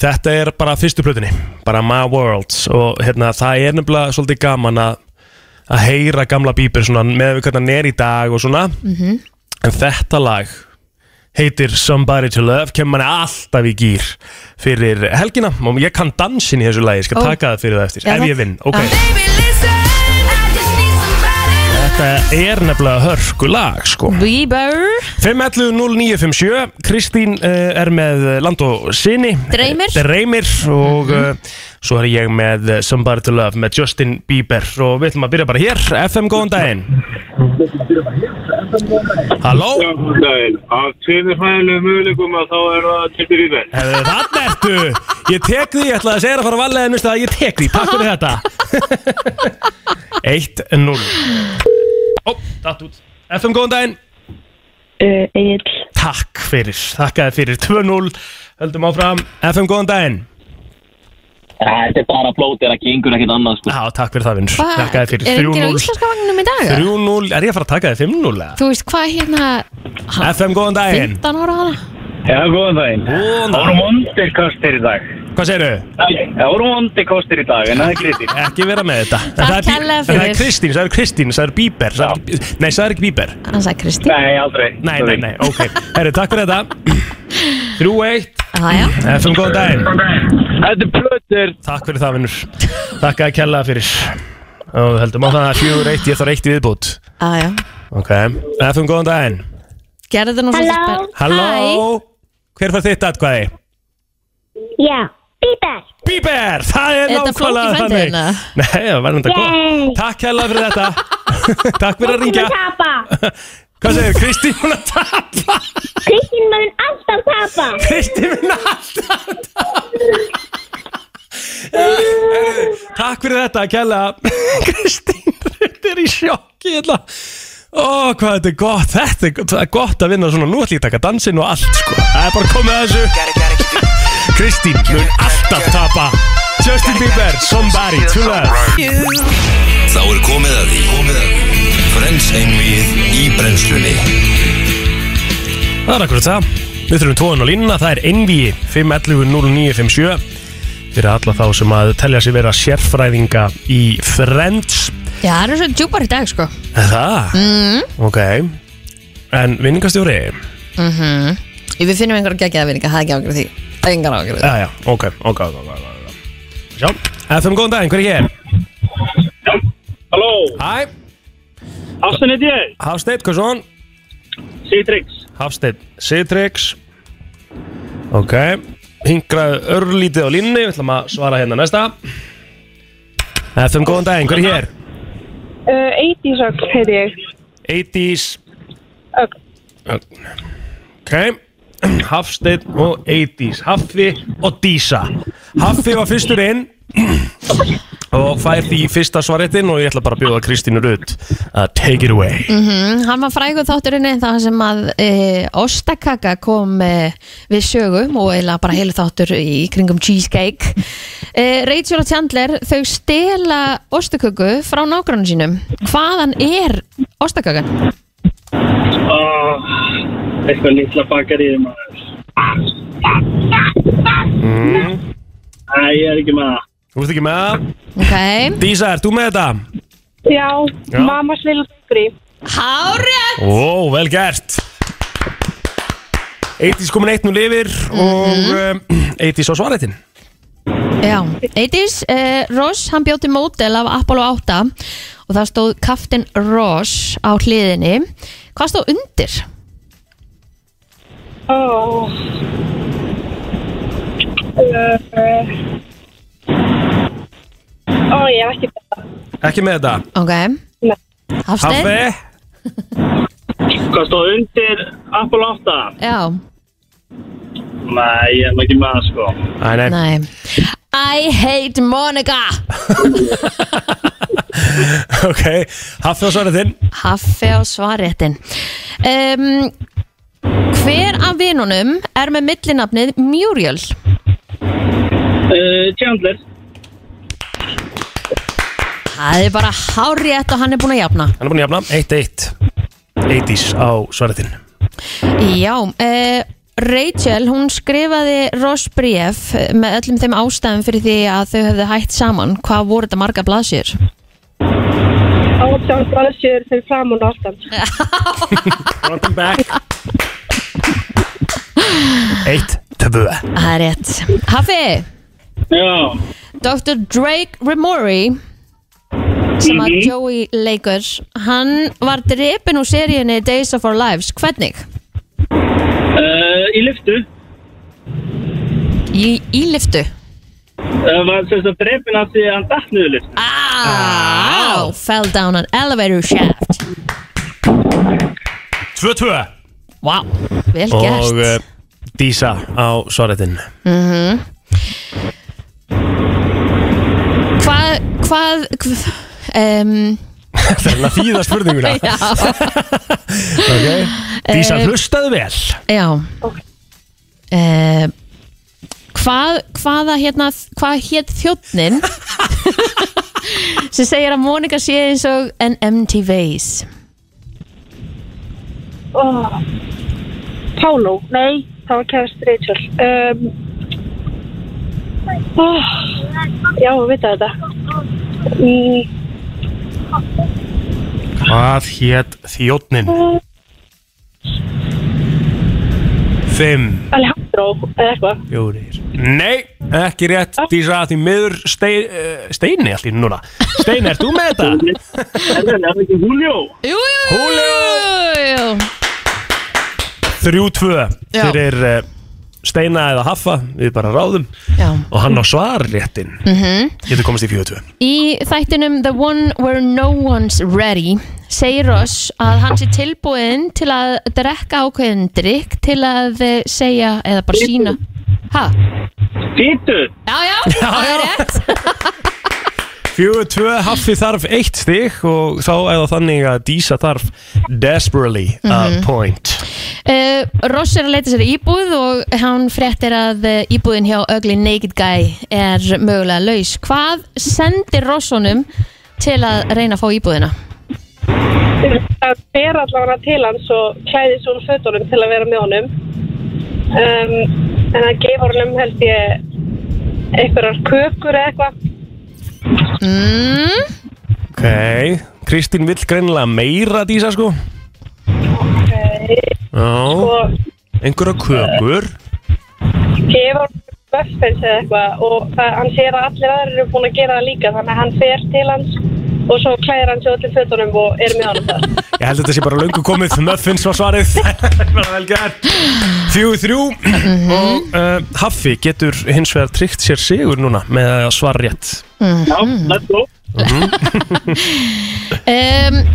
þetta er bara fyrstu plötunni, bara My World og hérna, það er nefnilega svolítið gaman að að heyra gamla Bieber svona með við hvernig hann er í dag og svona Mhm. en þetta lag heitir Somebody to Love kemur manni alltaf í gýr fyrir helgina og ég kann dansin í þessu lagi ég skal Ó. taka það fyrir það eftir, Já, ef það- ég vinn ok, Já. þetta er nefnilega hörku lag Mhm. sko Bieber 511-0957 Kristín uh, er með eh, Land og Sinni Dreymir. Dreymir og uh, svo er ég með eh, Somebody to Love með Justin Bieber og við ætlum að byrja bara hér FM góðan daginn Halló Af tveimur fæðilegum möguleikum að þá er það Justin Bieber Hefðu, Þarna ertu Ég tek því, ég ætlaði að segja þér að fara að valega en veistu að ég tek því, takk fyrir þetta <laughs> 1-0 Ó, datt út FM góðan daginn Uh, Egil, Takk fyrir, þakkaði fyrir 2-0 Höldum áfram, FM góðan daginn Þetta er bara blót, þetta gengur ekkert annað sko. Já, takk fyrir það vinnur Hva, Þakkaði Er fyrir enginn á 3-0 íslenska vagnum í dag? 3-0, er ég að fara að taka þið 5-0 eða? Þú veist hvað hérna FM góðan daginn 15 ára hana Já, góðan daginn. Góðan Það voru vondir kostir í dag. Hvað segirðu? Það voru vondir kostir í dag, en það er grítið. Ekki vera með þetta En Takk það er bí- kærlega en Það fyrir. er Kristín, það er Kristín, það er Bíber það er- Nei, það er ekki Bíber Hann sagði Kristi Nei, aldrei. Nei, nei, nei, ok Herru, takk fyrir þetta 3-1 Aja, FM, góðan daginn Þetta er plötur. Takk fyrir það, vinnur Takk að kella fyrir Og við heldum á það að 4-1 Ég þarf eitt í viðbútt aja Ok FM, góðan daginn Gerði þetta nú svolítið Halló. spenn- Halló Hver fær þitt atkvæði? Já, Bíber Bíber, það er Er þetta nákvæmlega flókið þannig frændi hérna? þinn, eða? Nei, það var þetta góð Yay. Takk hella fyrir þetta <laughs> Takk fyrir að ringja Tapa <laughs> Hvað segir Kristín mun að tapa? Kristín mun alltaf tapa Kristín mun alltaf að <laughs> tapa Takk fyrir þetta, Kjalla <laughs> Kristín, þetta er í sjokki Þetta Ó, hvað þetta er gott Þetta er, það er gott að vinna svona Nú ætlum ég að taka dansinn og allt sko. Það er bara komið að þessu Kristín mun alltaf tapa Justin Bieber, Somebody to Love Þá er komið að því Komið að því Frens einvið í brennslunni Það er akkurat það Við þurfum tóðan á línuna, það er NVI 511-0957 Fyrir alla þá sem að telja sér vera sérfræðinga í Friends Já, það eru svo djúpar í dag sko Er Það? Mm. Ok En vinningastjóri? Ef Við finnum einhverja geggjaða vinninga, það er ekki ágjörð því Það er engan ágjörð Já, já, ok, ok, ok, ok, ok, ok Sjá, FM, góðan daginn, hver er hér? Halló, Hæ, Afstan heiti ég. Hafsteinn, hvað svo hann? Citrix. Hafsteinn Sitrix Ok Hingrað örlítið á línni Við ætlum að svara hérna næsta FM, góðan daginn, hver er hér? uh, Eidísögg heiti ég 80s Ögn. Ögn. Ok Hafsteinn og 80s Haffi og Dísa Haffi var fyrstur inn og fær því fyrsta svarettinn og ég ætla bara að bjóða Kristínu Rutt að take it away Mm, Hann var frægur þátturinni þar sem að e, ostakaka kom e, við sögum og eiginlega bara heilu þáttur í kringum cheesecake e, Rachel og Chandler þau stela ostaköku frá nágrannu sínum hvaðan er ostakakan? Eitthvað litla bakarið maður. Nei, ég er ekki með það. Þú veist ekki með það? Ok, Dísa, ert þú með þetta? Já, Já. mammas lilla frí hárið Ó, vel gert 80s komin eitt nú lifir og Mhm. um, 80s á svarettinn Já, Eidís, eh, Ross, hann bjóti mótel af Apollo 8 og það stóð Captain Ross á hliðinni hvað stóð undir? Ó Uh, Ó, ég hef ekki þetta Ekki með þetta? Ok, Nei. Hafsteinn? Haffi? Hvað stóð undir Apple 8? Já, Nei, ég er ekki með það sko. Æ, nei, nei I hate Monica <laughs> ok Haffi á svarettinn Haffi á svaréttin um, Hver af vinunum er með millinafnið Muriel? Uh, Chandler. Það er bara hárétt og hann er búin að jafna Hann er búin að jafna 1-1 80s á svarettinn Já, uh, Rachel hún skrifaði Ross Brief með öllum þeim ástæðum fyrir því að þau hefðu hætt saman hvað voru þetta marga blaðsjur? Átján blaðsjör fyrir fram og náttan Welcome back 1-2 Það er rétt Hafi, Já. Dr. Drake Remori sem að Mhm. Joey leikur hann var drepin úr seríunni Days of Our Lives, hvernig? Uh, í lyftu. Í, í liftu Uh, var semst að drefin af því að hann datt niður lyftu. Ow, fell down an elevator shaft 2-2 Wow, vel Og gert uh, Dísa á svarettinn Hvað, hvað, hvað um, Það er hann að þýða <laughs> spurninguna Já, okay. Dísa Eh, hlustaði vel já. Eh, Hvað, hvaða hérna hvað hétt þjóttnin sem segir að Mónika sé eins og an empty vase Páló, nei það var kærast Rachel. Um, oh, já, við veitum þetta. Mm, Hvað hétt þjóttnin? Fimm Alejandro, eða eitthvað. Fjórir Nei, ekki rétt Dísa því miður stein, uh, Steini allir núna Steini, ert þú með þetta? Jú, jú, jú, jú, Julio! jú. Þrjú tvö Já. Fyrir uh, Steina eða Haffa Við bara ráðum Já. Og hann á svarréttin mm -hmm. Getur komist í fjóðu tvö Í þættinum The One Where No One's Ready segir Ross að hann sé tilbúinn til að drekka ákveðin drikk til að eh, segja eða bara sína Ha? Fýtu Já, já, það er rétt Fjóðu tvö Haffi þarf eitt stig Og þá eða þannig að Dísa þarf Desperately a point uh, Ross er að leita sér að íbúð og hann fréttir að eh, íbúðin hjá Ugly Naked Guy er mögulega laus Hvað sendir Ross honum til að reyna að fá íbúðina? Það ber allavega til hans og klæði svo úr fötunum til að vera með honum. Um, en það geif honum held ég einhverjar kökur eða eitthvað. Mm, Ok Kristín vill greinilega meira Dísa sko Já Og Einhverja kökur ég var buffins eða eitthvað og það, hann sér að allir aðrir eru búin að gera það líka þannig að hann fer til hans og svo klæðir hann sér öllum fötunum og er með honum það. <laughs> Ég held að þetta sé bara löngu komið Muffins var svarið <laughs> Bara vel gert Fjú þrjú Og uh, Haffi getur hins vegar tryggt sér sigur núna Með að svara rétt Já, let's go um,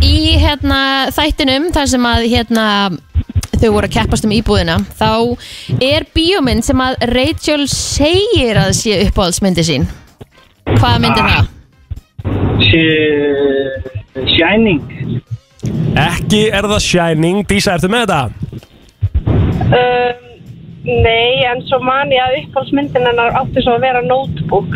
í hérna þættinum þar sem að hérna þau voru að keppast um íbúðina þá er bíómynd sem að Rachel segir að sé uppáhaldsmyndi sín hvað myndi það? Shining Ekki er það Shining Dísa, ertu með þetta? Um, nei, en svo man ég að upphaldsmyndin hennar átti svo að vera notebook.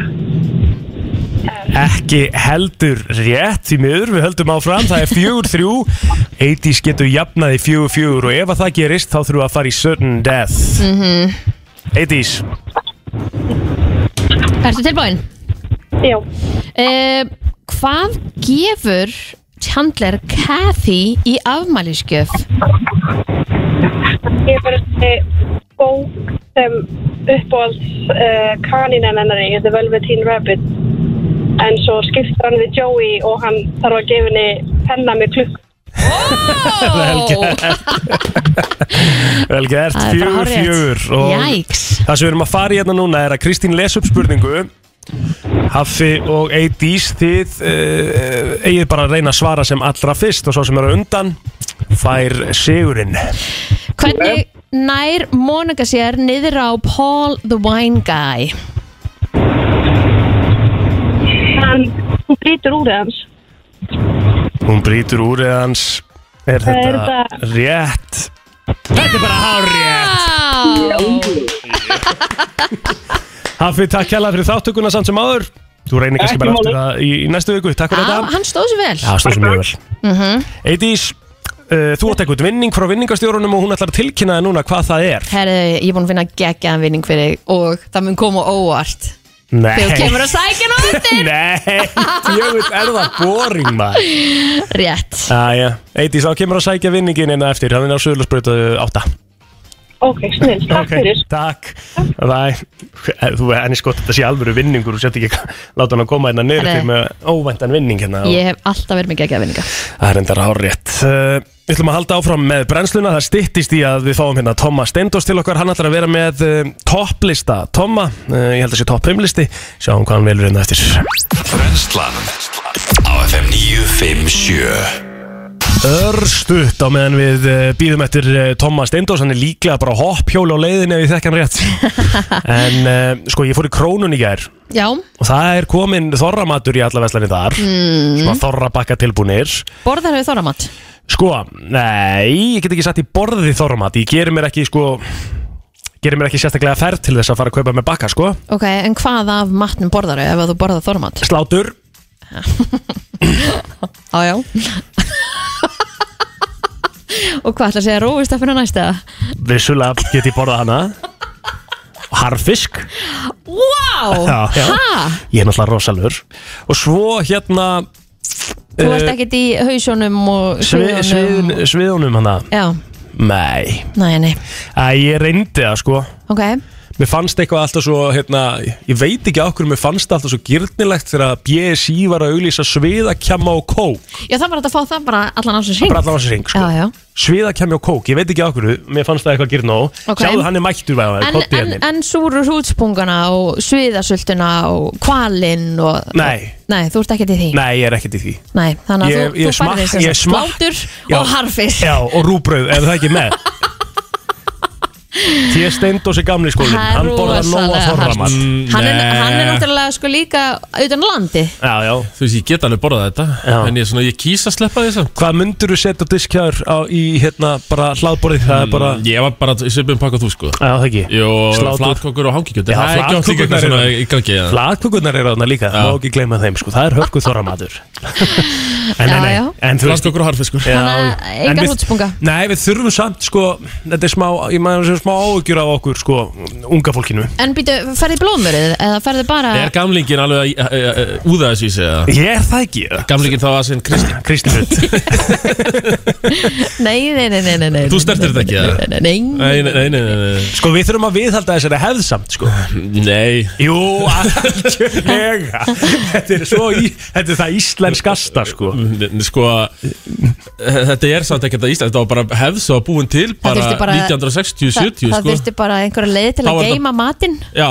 Ekki heldur rétt Því miður, við höldum áfram Það er fjögur þrjú 80s getur jafnaði fjögur fjögur Og ef að það gerist, þá þurfum við að fara í sudden death mm Mhm. 80s Ertu tilbúin? Já, Um, hvað gefur Chandler Cathy í afmælisgjöf? ég var þessi bók sem uppáhalds uh, kaninen hennar í, The Velveteen Rabbit. En svo skiptir hann við Joey og hann þarf að gefa henni penna með klukk. Vel gert Vel gert, Það er bara fjögur hárrétt. fjögur og Jæks Það sem við erum að fara í hérna núna er að Kristín les upp spurningu Haffi og Eidís þið uh, eigið bara að reyna að svara sem allra fyrst og svo sem eru undan fær sigurinn Hvernig nær Monika sér niður á Paul the Wine Guy? Hann, hún brýtur úr hans. Hún brýtur úr eða hans Er er þetta bara- rétt? Þetta er bara hárrétt Á. Haffi, takk hérlega fyrir þáttuguna samt sem áður Þú reynir kannski Ekki bara máli. aftur að í, í næstu viku Takk fyrir Á, þetta Ah, Hann stóð sér vel Mhm. Já, stóð sem mjög vel Eidís, uh, þú átt eitthvað vinning frá vinningastjórunum og hún ætlar að tilkynna það núna hvað það er Herðu, ég er búin að finna geggjaðan vinning fyrir þig og það mun koma óvart Nei þegar þú kemur að sækja nú undir <laughs> Nei, djöfull er það boring maður Rétt Æja, Eidís, þá kemur að sækja vinningin einna eftir Hann er á eh, Söðlarsbrötu 8 Ok, snill, takk fyrir. Takk Bye. Þú henni sko þetta sé alvöru vinningur og sett ekki láta hann að koma hérna niður Nei. til með óvæntan vinning hérna og- Ég hef alltaf verið með geggjaðan vinninga Það er endara hárétt Uh, Við ætlum að halda áfram með brennsluna Það styttist í að við fáum hérna Tomma Steindós til okkar Hann ætlar að vera með uh, topplista Tomma, uh, ég held að sé topp 5 listi Sjáum hvað hann velur hérna eftir Brennslan á FM 957 Örstutt á meðan við eh, býðum eftir eh, Tómas Steindós, hann er líklega bara hoppjóla á leiðinni ef ég þekk hann rétt en eh, sko ég fór í krónun í gær Já, og það er komin þorramatur í alla veslanir þar mm. svona þorrabakka tilbúnir borðar hefur þorramat sko, nei, ég get ekki satt í borðið þorramat, ég gerir mér ekki sko gerir mér ekki sérstaklega ferð til þess að fara að kaupa með bakka sko, Ok, en hvað af matnum borðar ef að þú borðar þorramat? slátur Á, já <laughs> Og hvað ætla að segja rófustöppuna næst eða? Vissulega get ég borðað hana Harfisk Wow! Já, já. Ha? Ég er náttúrulega rosalur Og svo hérna Þú Eh, ert ekkert í hausjónum og svið, svið, sviðunum og- Sviðunum hana Já, Nei, næ, nei, Æ, ég reyndi það sko ok Mér fannst eitthvað alltaf svo, hérna, ég veit ekki á hverju, mér fannst það alltaf svo girnilegt þegar BSI var að auglýsa sviðakjama og kók. Já, það var hægt að fá það bara allan á sig Bara hring allan á sér hring, sko. Já, já Sviðakjama og kók, ég veit ekki á hverju, mér fannst það eitthvað girn á. Ok. Sjáðu, hann er hérna. mættur væða það, En, kotti en, henni. en súru hrútspungana og sviðasöltuna og kvalinn og Nei. Nei, þú ert ekkert í því Nei, ég er ekkert í því. Nei, þannig að Ég- þú, ég þú færði smakk- ég þess að smakk- slátur Já. og harfis Já, og rúbröð, ef það ekki er með. Því er Steindós í gamli skólinn, Það er hann borðar Mm. nóa rosalega forramar. hart. hann, er, Nei. hann er náttúrulega sko líka utan á landi Já, já. Þú veist, ég get alveg borðað þetta Já. En ég, er svona, ég kýs að sleppa þessu Hvað myndur þú setja diskjaður á, í, hérna, bara hlaðborðið, það er bara, Ég var bara í svipum pakka þú sko Mm, já, það ekki. Jó, Slátur. flatkokkur og hangikjöld Já, Það er ekki oft líka flatkökurnar eitthvað svona eru- í gangi eða? Flatkökurnar eru þarna líka, Já. má ekki gleyma þeim sko, það er hörku <laughs> þorramatur En, nei, Já, nei, já. en þú veist Flatkokkur og harfiskur já, Þannig að en engar við- hrútspunga. Nei, við þurfum samt sko, þetta er smá, ég maður sem smá áhugjur af okkur sko, unga fólkinu En býtu, ferði blómurðið eða ferði bara Er gamlingin alveg að e, e, e, úða þessu í sig eða? Ég er það ekki, Gamlingin þá að sinn Kristi Kristi Hrutt Nei, nei, nei, nei, nei, nei Þú snertir þetta ekki, nei, eða? nei, nei, nei. Nei, nei, nei, nei, nei, Sko, við þurfum að viðhalda þessari hefð samt sko nei Nei Jú, algjörlega Þetta er svo, í, þetta er það íslenskasta sko N- Sko, þetta er samt ekkert að Ísland Þetta var bara hefð svo að búin til bara, þurfti bara- Það, 1960-70 það sko. þurfti bara einhverja leið til Þá að var þetta- geima matinn Já,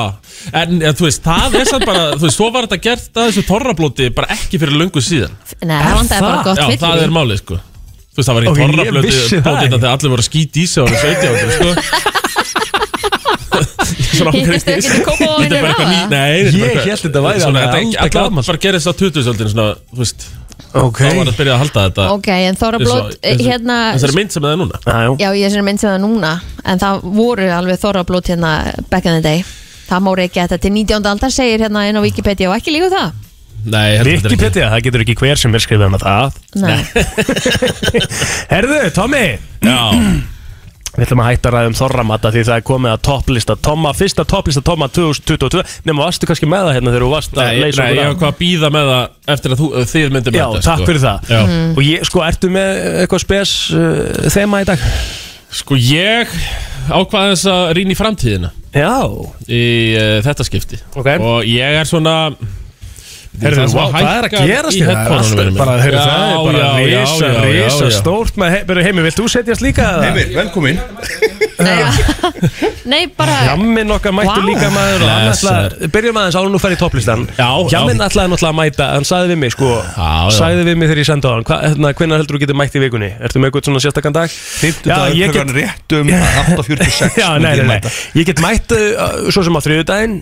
en ja, þú veist, það er samt bara Þú veist, svo var þetta gert að þessu torrablóti bara ekki fyrir löngu síðan Nei, það vandaði bara það? gott Já, fyllir það í. er málið, sko Þú veist, það var Ok, ekki ég torrablóti vissi það Blótið ekki. þetta allir voru að skýt í sig ára 17 sko. <laughs> <laughs> Svona ákveðið- Hittistu ekkert í Kópavoginum Þetta er bara eitthvað ný- áðan? Nei, þetta er bara Ég eitthvað- hélt þetta væri Svona, alveg þetta er ekki- alda þetta var gamalt. bara gerðist á 20-öldin Svona, þú veist, Ok þá var það að byrja að halda þetta Ok, en Þóra eins og- Blót, eins og- hérna Þessari mynd sem það er núna Já, Já, ég er sem mynd sem það núna En það voru alveg Þóra Blót hérna back in the day Það má reykja þetta til 19. aldar segir hérna inn á Wikipedia og ekki líka það Nei, ég held að þetta er ekki Wikipedia, það getur ekki hver sem er skrifið hana það Nei, Herðu, Tommy Já, Við ætlum að hætta að ræða um þorramata því það er komið að topplista Tomma, fyrsta topplista Tomma 2022 Nefnum varstu kannski með það hérna þegar þú varst að nei, leysa nei, okkur ég af. var hvað að býða með það Eftir að þú, þið myndir með Já, þetta takk sko. fyrir það Já. Og ég, sko, ertu með eitthvað spes uh, þema í dag? Sko ég ákvaði þess að rýna í framtíðina Já í uh, þetta skipti Ok. og ég er svona Herðu, sem vá, að hvað er að hækkar gerast í þér? Það er headphoneunum alltaf mínum. bara, heyrðu, það er Já, bara já, já, risa, já, já, risa já. stórt með he- Byrju, Heimi, vilt þú setjast líka að það? Heimir, velkomin <laughs> Nei <laughs> bara Jammin okkar mættu Vá. líka maður og hann Blessaður. ætlaði, byrjum aðeins ára nú fær í topplistan Já, Jammin já. ætlaði náttúrulega að mæta, hann sagði við mig sko Já, já. sagði við mig þegar ég sendi á hann hva- hérna, hvenær heldur þú getur mætt í vikunni, ertu með eitthvað svona sérstakann dag Fymtudagur ég klukkan rétt um 8.46 <laughs> Já, nei, nei, nei, ég get mætt uh, svo sem á þriðudaginn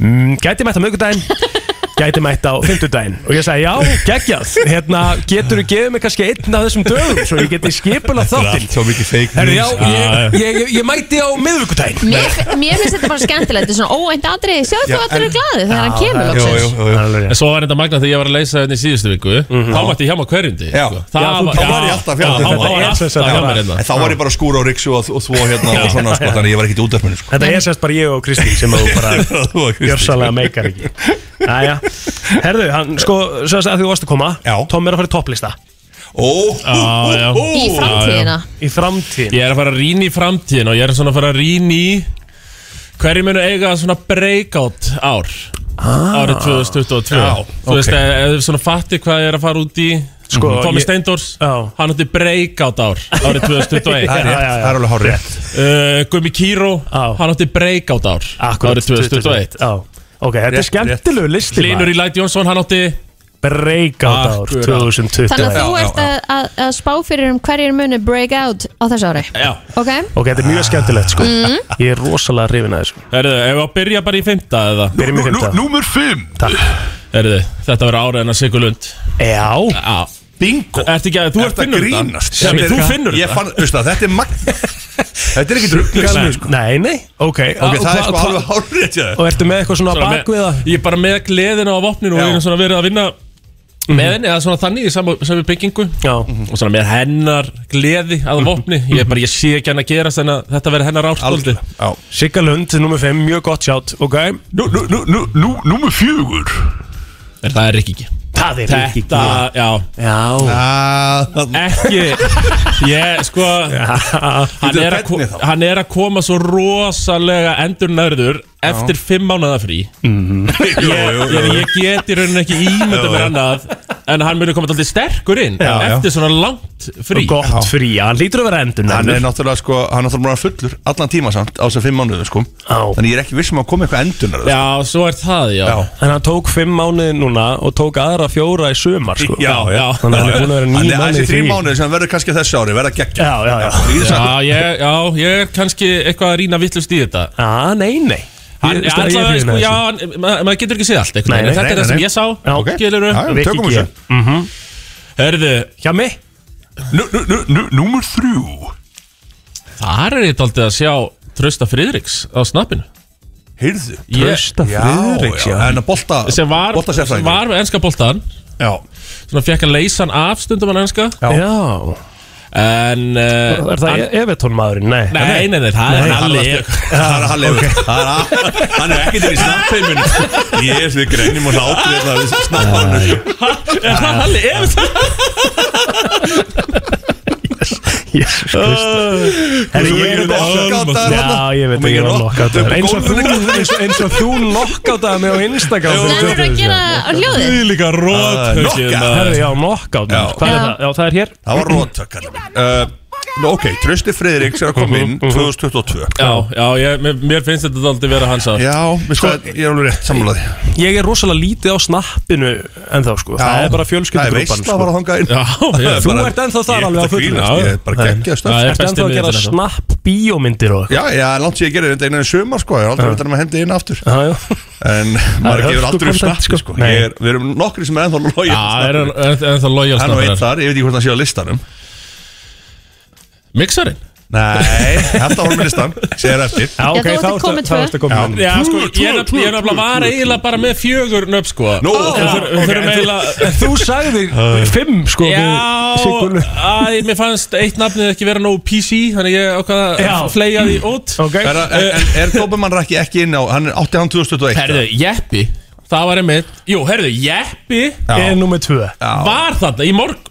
mm, gæti mætt á mögudaginn gæti mætt á fymtudaginn og ég sagði já, geggjað, hérna getur þú gefið mig kannski einn af þessum dögum svo ég geti skipula þáttinn Svo mikið fake Herru, news sko. já, ég, ég, ég, ég mæti á miðvíkudaginn Mér, fi- mér finnst þetta bara skemmtilegt Þetta er svona óænt atriði, sjáðu Já, þú allir en- eru glæði þegar hann kemur Jú, loksins jú, jú, jú. En svo var þetta magna þegar ég var að leysa þetta í síðustu viku Mhm. Þá mætti ég hjá maður hverjundi Já. sko. það Já, þú- var, þá var ég alltaf hjá já, þér. um Þá Þetta En er sem sagt bara- var ég alltaf hjá mér hérna þá var ég bara að skúra á riksu og, og þvó hérna og svona sko, Þannig að ég var ekkert í útdarpinu <laughs> sko. Þetta er sérst bara ég og Kristín sem þú bara Þú var Kristi. gjörsalega meikar ekki Jæja, herðu, hann, sko, svo að því þú varst að koma Já. Tom er að fara í topplista Ó, Já, já. ó, ó. Í framtíðina í framtíðin Ég er að fara að rýna í framtíðin og ég er svona að fara að rýna í Hverju munu eiga svona breakout ár Árið 2022 Já, Þú veist, ef ef þið svona fatti hvað ég er að fara út í Sko, Tommy ég- Steindors, Já. hann átti breakout ár Árið <laughs> 2021 Það er Já, rétt, já, já. það er alveg hár rétt uh, Gumi Kíró, Já. hann átti breakout ár árið 2021 Já, ok, þetta er Rétt, skemmtilegu listi Hlynur í Læti Jónsson, hann átti Breakout ár Akkurat. 2021 Þannig að þú Já, já, ert að, að, að spá fyrir um hverjir muni break out á þessu ári Já, Ok, Ok, þetta er mjög skemmtilegt, sko Ég er rosalega hrifin að þessu herðu, ef við að byrja bara í fymta eða Byrjum í fymta Númer 5 Herðu, þetta verður árið hennar Sigur Lund Já, Já Bingo Ertu ekki að, þú ert Ertu að finnur grínast? þetta Sjami, Þetta er- þú finnur Ég þetta fann, veistu það, þetta er magn Þetta er ekki drugglega Nei. sko. nei, nei, ok Ok, og það er hva- sko hva- alveg hár rétt hjá þér Og ertu með eitthvað svona Svona með- bakviða? Ég er bara með gleðina á vopninu og Já. ég er svona verið að vinna með henni, eða svona þannig í sam- sami byggingu Já. og svona með hennar gleði að vopni, ég, er bara, ég sé ekki hann að gera þannig að þetta verði hennar ástóldi Sigga Lund, nummer 5, mjög gott sjátt Ok nú, nú, nú, nú, nú, Nummer 4 Það er ekki Það er Rikki G. Þetta, já Já Ekki Ég, sko hann Bíddu, er, hvernig að, ko- hann er að koma svo rosalega endurnörður Eftir fimm mánuða frí ég, ég, ég get í rauninni ekki ímynda mér annað En hann muni koma alltaf sterkur inn Já, já. Eftir svona langt frí Gott frí, hann lítur að vera endur Hann er náttúrulega sko, hann er náttúrulega bara fullur allan tíma samt á þessum fimm mánuðu sko Þannig ég er ekki vissum að koma eitthvað endunar Já, svo er það, já, En hann tók 5 mánuði núna og tók aðra fjóra í sumar sko. Þannig að hann er búin að vera 9 Þannig að þessi mánuði í þrjum frí. mánuði sem hann verður kannski þessu ári, verða geggja Já, já, já Já, ég, já, ég er kannski eitthvað að rýna vittlust í þetta Já, nei, nei Hann, Ég- ég, stend ég allavega, hrifinn sko, af já, þessu. hann- ma- maður getur ekki séð allt einhvern Nei, nei, veginn, en Þetta nei, er það nei, sem nei. ég sá Já, ok. Skilurðu? Já, já, Rikki tökum G. þessu. Herðu Hjá mig Númer þrjú Þar er ég daldið að sjá Trösta Friðriks á snappinu Heyrðu, Trausta Friðriks, já. En að bolta sem var, sem boltasérfræðingur. var með ennska boltan Já Svona fekk að leysa hann af stundum hann ennska Já En uh, Er það Evertón maðurinn? Nei, Nei, nei, nei, það Nei, er Halli <laughs> Það er Halli Það er að- Hann er ekkert inn í snappheimin Ég er við greinum og hlátur hérna við snappheimin Er það Halli Evertsson? Jésus Kristi Herri, Þú ég er mikið knockoutaður Já, þarna. ég veit Þú að ég mikið var knock- upp nokkátaður á Eins og þú eins, og- eins og þú nokkátaði mig á Instagram Nei, fyrir verður að 20 gera síðan. á hljóðið Líka rót Herri, já, knockout Já. Hvað er það? Já, það er hér Það var rótök uh, Nú ok, Trösti Friðriks er að Mhm, koma inn 2022 Já, já, ég, mér- mér finnst þetta daldið vera hans að Já, við sko, ég er alveg rétt sammálaði Ég er rosalega lítið á snappinu En þá sko, það er Það bara sko. er fjölskyldugrúpan veist að fara að þanga inn Já, já, Þú ert ennþá þar alveg á fullu, fullu Ég er bara geggjað Það stöð er Ertu besti ennþá að gera miðillinn ennþá. snapp bíómyndir og eitthvað? Já, já, langt sér ég gerir þetta einan í sumar sko Ég er aldrei veit að maður hendi inn aftur Já, já En maður gefur aldrei upp hörkukontent, snappi sko. sko Nei. Ég er- Við erum nokkri sem er ennþá logið Já, er hann er- er það lojal Hann og einn snapparar þar, ég veit ekki hvort hann sé á listanum Mixarinn? <laughs> Nei, þetta var með listan Sér eftir Já, Já, ok, þá þá ertu komin ertu- þá tvö. ertu komin með. Já, sko, ég er nefnilega- ég er nefnilega var eiginlega bara með fjögur nöfn, sko Nú, Við þurfum- við þurfum eiginlega <laughs> Þú sagðir fimm sko við Siggu Já, Lund. að, mér fannst eitt nafnið ekki vera nógu PC Þannig ég ákvað Já. að fleia því út Ok Er, er, er, er Dobermann Rækki ekki inn á Hann er- átti hann 2021 Herðu, Jeppi Það var einmitt Jú, herðu, Jeppi Er nummið tvö var þarna í morgun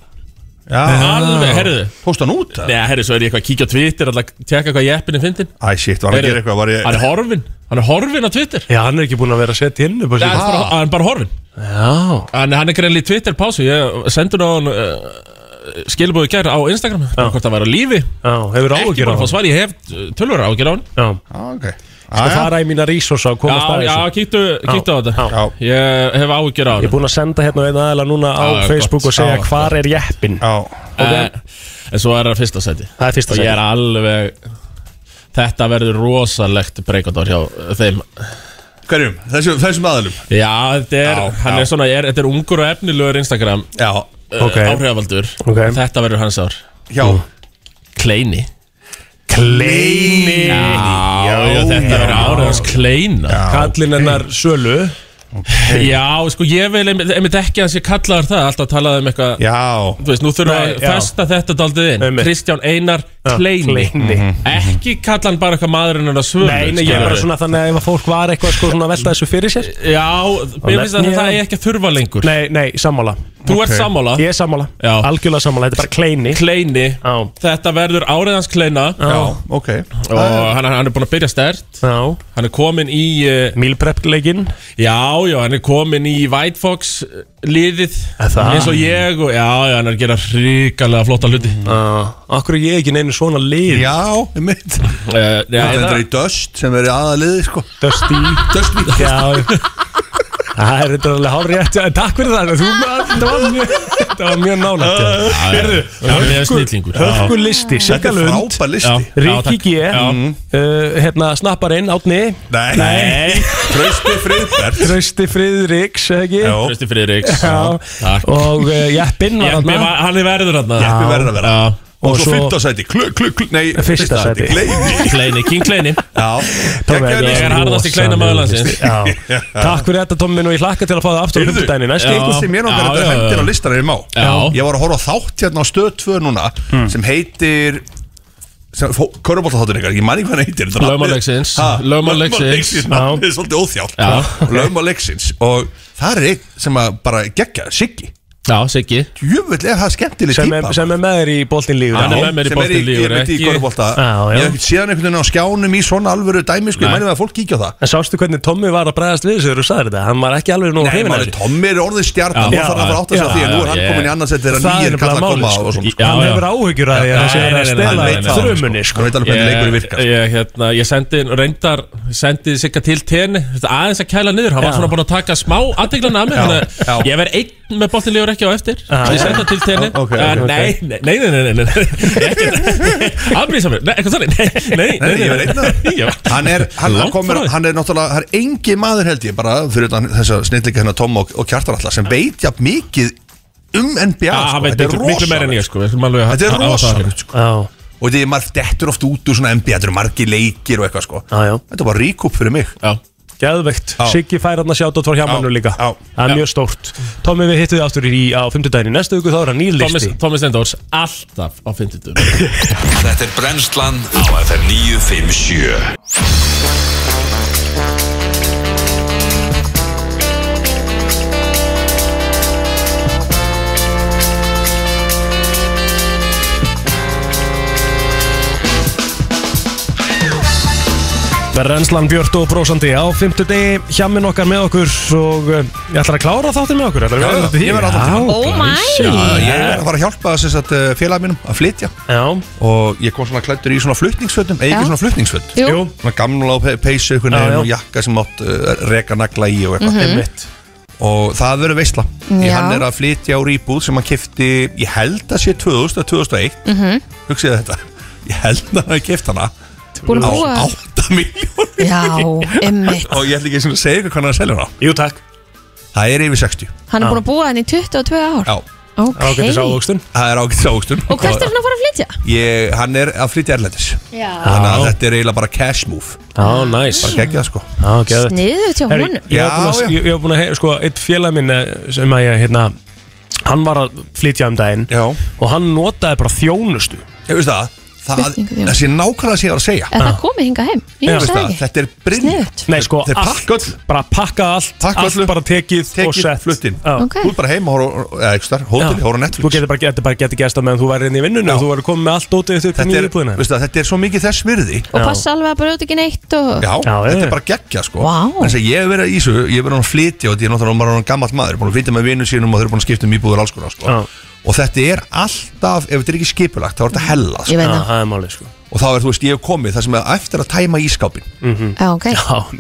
Já, Alveg, herðu Pósta hann út eða? Nei, herðu, svo er ég eitthvað að kíkja á Twitter Alltaf að tjekka hvað Jeppin er fyndin Æ, shit, var hann að gera eitthvað var ég... Hann er horfin Hann er horfin á Twitter Já, hann er ekki búin að vera að setja inn upp á Nei, sig Hann er bara- hann er bara horfin Já Hann, hann er greinlega í Twitter pásu Ég sendur á hann uh, skilbúið gær á Instagram bara Hvort það var á lífi Já, hefur Ekki áhugjur á bara að fá hann svar Ég hef tölvur ágjur á hann Já ah, okay. Sko, Það ah, fara í mína resource á að komast Já, að já, þessu kíktu, kíktu á þetta Já. Ég hef ágjur Ég á er hann búin að senda hérna á einn aðeila núna á Já, Facebook gott. og segja Já, hvar er jeppin já, en, Eh, en svo er það fyrsta seti Það er fyrsta Og Ég sæti er alveg Þetta verður rosalegt breykandar hjá eh, þeim Hverjum? Þessum, þessum aðalum Já, þetta er, Já, hann já. er svona er, Þetta er ungur og efnilegur Instagram uh, Já, Ok. Áhrifavaldur Ok. Þetta verður hans ár já Kleini Kleini Já, já, þetta verður árið hans Kleina já. Kallinn hennar Sölu sko ég vil einmitt einmitt ekki hans ég kallaður það Alltaf talaði um eitthvað Já, Þú veist, nú þurfum við Nei, að já. festa þetta daldið inn Einmitt. Kristján Einar Já, Kleini, Kleini. Ekki kalla hann bara eitthvað maðurinn hennar svölu Nei, nei, ég er bara svona þannig að ef að fólk var eitthvað sko svona að velta þessu fyrir sér Já, mér finnst að nefni ég það hann. er ekki að þurfa lengur Nei, nei, sammála Þú ert sammála Ég er sammála, Já. algjörlega sammála, þetta er bara kleini Kleini Já, Þetta verður áriðans Kleina já, ok Og hann, hann er búin að byrja stert já Hann er komin í uh, Mílpreppleikinn Já, já, hann er komin í White Fox eh, liðið Er það? Eins og ég og, Já, já, hann er að gera hrikalega flotta hluti mm. Akkur Uh, er ég ekki neinu svona lið Já, ég mitt uh, já, Það það, er í Dust sem er í aðaliði sko Dusty Dust Week Já Það er þetta alveg hár rétt Takk fyrir það Þú, þetta, var mjög, þetta var mjög nálægt já. Hérðu, hann er snillingur Hörku listi Þetta Sigga er Lund frábær listi Ríki G uh, Já. Hérna snapparinn Átni Nei Trösti Friðbert Trausti Friðriks eða ekki Já. Kristi Friðriks Já. Takk Og uh, Jeppinn var Jeppi, þarna var- Hann er verður hann Jeppi verður að vera. Já, Og, svo fymta sæti Klug, klug, klug Nei, Fyrsta sæti. <laughs> Kleini Kleini, King Kleini Já Tommi, Geggjaður þetta Ég er harðasti rosaleg kleina maður landsins listi. Já. <laughs> Takk fyrir þetta Tommin og ég hlakka til að fá það aftur á Heyrðu, fimmtudaginn í næstu. Eitthvað sem ég Já, nokkar já, þetta já. hendir á listan ef ég má Já. Ég var að horfa á þátt hérna á stöð 2 núna sem heitir Körbóltaþáttur ykkar, ég man ekki hvað hann heitir þetta Lögmál nafnið- leiksins. Ha, Lögmál leiksins. nafnið er svolítið óþjátt Lögmál leiksins og það er einn sem að bara gegja Siggi Já, Siggi Jöfull er það skemmtileg Sem típa er- sem er með þér í boltin líður Já, sem er ég er með í Körbólta Ég hef ekki séð hann einhvern veginn á skjánum í svona alvöru dæmi sko, ég Nei. mæli með að fólk kíkja á það En sástu hvernig Tommi var að bregðast við þessu þegar þú sagðir þetta? Hann var ekki alveg nú Nei, maður, Tommi er orðið stjarnan, maður þarf að fara átt að segja því en nú er hann komin í annars þetta er að nýjir kalla að koma og svona sko. Hann hefur áhyggjur að því að hann sé að stela þrumunni sko. virkar Ég, hérna, ég sendi reyndar sendi sigga til tenni aðeins að kæla niður, hann var Já. svona búin að taka smá aðdeglana að mig, Já, þannig að ég verð einn með boltinlegur ekki á eftir, Já, svo já. ég sendi það til tenni Ok, ok, ok. Nei, nei, nei, nei, nei, nei, nei Afbrýðsamur, nei, eitthvað þannig Nei, nei, Nei, ég <laughs> verð einn Hann er, hann Langt komur, frá því. hann er náttúrulega, hann er engi maður held ég bara fyrir utan þess að snillika hennar Tomma og, og Kjartan alltaf sem veit jafn mikið um NBA Já, sko. hann veit Þetta er miklu- miklu meira en ég, sko, við skulum alveg Þetta er hafa- hafa það á hreinu. rosalegt sko. Og þetta er maður dettur oft út úr svona NBA, þetta eru margi leikir og eitthvað sko já. Þetta var ríkup fyrir mig Já Gæðvegt, Já. Siggi fær hann að sjá Dótvar hjá mannu líka Það er mjög stórt Tommi við hittum þið aftur í á 50 daginn Næstu viku þá er hann nýr Thomas, listi Thomas Endors, alltaf á 50 Þetta er brennslan á FM 957 Berrenslan Björn og brósandi á 50 dagi Hjammin okkar með okkur Og eh, ég ætlar að klára þáttin með okkur ætlarðu Já, að vera ég verð áfram til. Já, Oh glæsi. Já, ég Já. er að fara að hjálpa þess að félagum mínum að flytja Já. og ég kom svona klættur í svona flutningsfötum eða Já. ekki svona flutningsföt Jú. Jú. svona gamla og peysu einhvern Já, já. veginn og jakka sem átt uh, reka nagla í og eitthvað Mhm. Einmitt. og það verður veisla í Já. hann er að flytja úr íbúð sem hann kifti ég held að sé 2000 eða 2001 Mhm. hugsiði þetta ég held að hann kift hana Búin að á búa- 8 miljónir Já, emmitt og ég ætla ekki svona að segja ykkur hvað hann er að selja hana Jú takk það er yfir 60 Hann er búin að búa henni í 22 ár Já Ok. Ágætis ávöxtun. Það er ágætis ávöxtun Og hvert er hann að fara að flytja? Ég, hann er að flytja erlendis Já. Þannig að þetta er eiginlega bara cash move Já, næs Bara geggjað sko Já, geðveikt. Sniðugt hjá Herri, honum. Ég var búinn Já, að- já. ég- ég var búin að heyra, sko, eitt félag minn eh, sem að ég, hérna Hann var að flytja um daginn Já Og hann notaði bara þjónustu Ég veist það Það, Flutningur, já. það sé nákvæmlega sem ég var að segja Er það komið hinga heim? Ég veist það ekki Þetta er brinn Sniðugt. Nei, sko, Þetta er allt, pakköll bara pakka allt Pakka Allt öllu. bara tekið, og Tekið, sett flutt inn. Já. Ok. Þú er bara heima og horfa- eða ekki starf, hóteli, hóra Netflix Þú getur bara, getur bara getur gæst á meðan þú væri inn í vinnunni og þú væri komið með allt ótið upp í Þetta nýju er, íbúðina veist það, þetta er svo mikið þess virði Og passa alveg að brjóta ekki neitt og Já, þetta er bara geggja sko wow. Þannig að ég hef verið í þessu, ég hef verið að flytja og þetta er náttúrulega bara orðinn gamall maður, búin að flytja með vinnu sínum og þeir eru búin að skipta um íbúður alls konar sko Og þetta er alltaf, ef þetta er ekki skipulagt, þá er þetta hella Ég veit það. Já, það er máli sko Og þá er, þú veist, ég hef komið það sem er eftir að tæma ískápin -hmm. Já, ok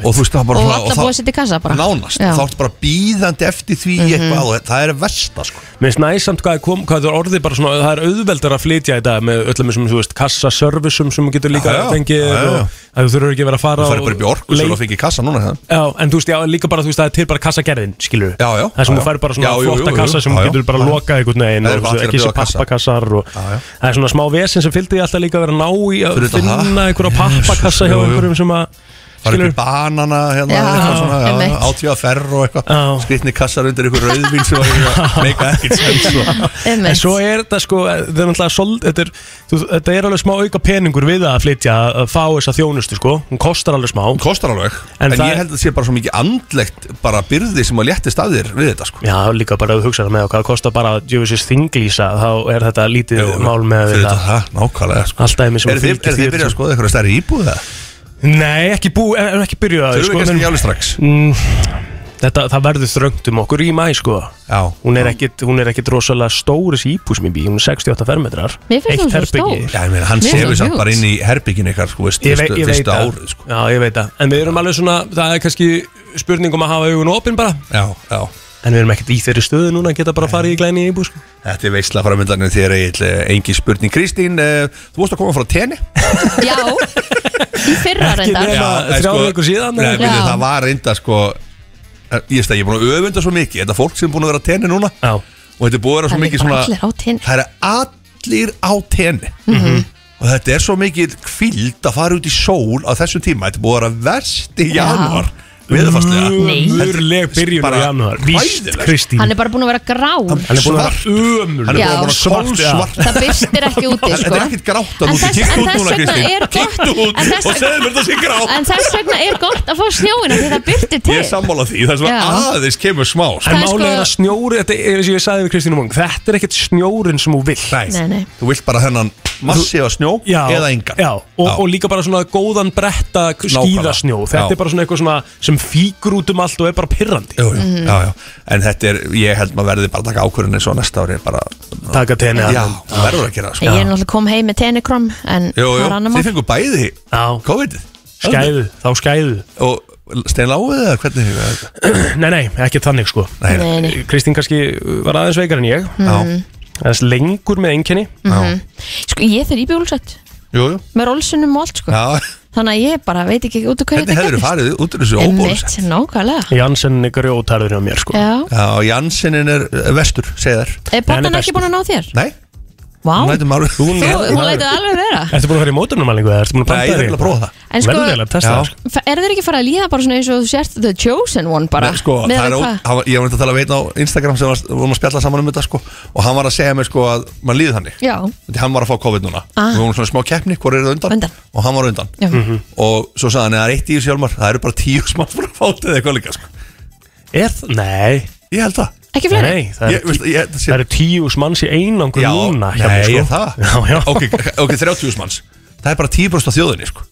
Og þú veist, það er bara Og svona- alla það- búið að setja í kassa bara Nánast, Já. Mhm. þá ertu bara býðandi eftir því eitthvað og það er versta sko Mér finnst næsamt hvað, er kom, hvað það er orðið bara svona Það er auðveldar að flytja í dag með öllum þessum, þú veist, kassaservisum sem þú getur líka Já, já. fengið Já, já. og að þú þurfur ekki að vera að Þú fara færi bara upp í orku leit- svo þú fengið kassa núna hérna. það. Já, en þú veist, já, líka bara, þú veist, það er til bara kassagerðin, skilur Já, já Það sem já, þú fær bara svona já, jú, flotta jú, jú, kassa sem já, já, þú getur bara já. að loka einhvern veginn Það eru og allir að ekki þessi bjóða kassa. pappakassar og það er svona smá vesen sem fylgdi alltaf líka að vera að ná í að Fyrir utan það. finna einhverja pappakassa hjá jú, jú. einhverjum sem að Farið upp í banana hérna, Já, eitthvað svona, já, einmitt. átíða ferr og eitthvað Skritni kassar undir ykkur rauðvín sem var að <laughs> meika ekkert sens og- En svo er þetta sko, þetta er náttúrulega sol, þetta, er, þú, þetta er alveg smá auka peningur við að flytja að fá þessa þjónustu sko, hún kostar alveg smá Hún kostar alveg, en, En það, ég held að það sé bara svo mikið andlegt bara byrði sem að léttist að þér við þetta sko Já, líka bara að hugsa með hvað það kostar bara að jöfisins þinglýsa, þá er þetta lítið mál Fyrir með þetta það, nákvæmlega sko Allt dæmi sem Er þið fylgir er því þið byrjað að sem- skoða eitthvað stærri íbúð það? Nei, ekki bú, en en ekki byrjuð að Þau eru kannski ekki alveg strax. mm, Þetta, það verður þröngt um okkur í mæ sko Já Hún er ekkit, hún er ekkit rosalega stóris íbú sem ég bý, hún er 68 fermetrar Mér finnst hún svo herbergi. stór. Já, ég meina, hann Mér finnst sefur hún samt mjög. bara inn í herbygginu ykkar sko, veist, Ég fyrstu- sko. veit- ég veit fyrsta það. árið, Já, ég veit það sko. En við erum alveg svona, það er kannski spurning um að hafa augun opinn bara Já, já En við erum ekkert í þeirri stöðu núna að geta bara að fara í glæni íbú sko Þetta er veisla framöndanum þér Egil, eh, engin spurning Kristín, eh, þú vorst að koma frá tenni Já, í fyrra reynda Hérna, eh, eh, sko, nei, Já. meni, Það var reynda sko eh, Ég veist að ég er búin að öfunda svo mikið Þetta er fólk sem er búin að vera á tenni núna já. Og þetta er búin að vera svo Það er mikið bara svona allir á tenni. Það er allir á tenni Mhm. og þetta er svo mikil kvíld að fara út í sól á þessum tíma, þetta er búið að vera verst í Já. janúar viðfarslega Mm, Nei. Ömurleg byrjun á janúar. Víst, Kristín. Hann er bara búin að vera grár Hann er búin að vera ömur Hann er búin að vera svart Það byrstir ekki úti sko. Þetta er ekkert grátt að En núti, þess- kíktu en út þess núna vegna Kristín er gott- Kíktu út en þess- og segðu mér þetta sé grátt En þess vegna er gott að fá snjóina Því það byrstir til Ég er sammála því, það er svona Já. aðeins kemur smá sko. En málið sko- er að snjóri, þetta er eins og ég sagði við Kristínu Mung Þetta er ekkert snjórin sem hún vill Nei, nei. Þú vilt bara hennan massífa snjó Já, eða engan já, og, og líka bara svona góðan bretta skýðasnjó Já. Þetta er bara svona eitthvað svona sem fíkur út um allt og er bara pirrandi Jú, jú, Mhm. já, já. En þetta er, ég held maður verði bara að taka ákvörðin eins og næsta ári bara Taka tenni Já, að- þú verður að gera það, Ég sko. er náttúrulega kom heim með tenikrom Jú, En það jú, er annar þið mál fengur bæði COVID Skæðu, þá skæðu Og stein láguð eða hvernig Nei, nei, ekki þannig sko Nei, nei. Nei, Kristín kannski var aðeins veikar en ég Mhm. Aðeins lengur með einkenni Mhm. Sko ég þurr íbjólsett Jú, jú Með rólsunum og allt sko Þannig að ég bara veit ekki út og hvað farið út úr Einmitt, nákvæmlega Janssen er grjótarður hjá mér sko Já. Já, Janssinin er eh, vestur, segðar Er botnan ekki búin að ná þér? Nei Vá Hún lætur maður Þú Þú, þú leitur alveg vera Ertu búin að fara í mótunumælingu eða ertu búin að panta Nei, ég er þig? nefnilega að prófa það. En sko- Verður eiginlega að testa Já. það sko. F- Er þeir ekki farið að líða bara svona eins og þú sért The Chosen One bara? Nei, sko, Miðað það er, við ó- hvað? hann var, ég var neitt að tala við einn á Instagram sem var, vorum að spjalla saman um þetta sko, og hann var að segja mér sko, að mann líði þannig Já, Þegar hann var að fá COVID núna Ah. Við vorum svona smá keppni, hvor er það undan? undan Og hann var undan Já. Mhm. Og svo sagði hann, "Nei, það er eitt í þessu hjálmar Það eru bara tíu sem að fór að fáta eða eitthvað líka sko. Er það? Nei Ég held það Ekki fleiri? Nei, það Ég- eru veist, tí, það eru tíu þúsund manns í einangur Já, núna hjá nei, mér, sko. er það? <laughs> Já, já Ok, ok, 30 manns Það er bara 10% af þjóðinni sko.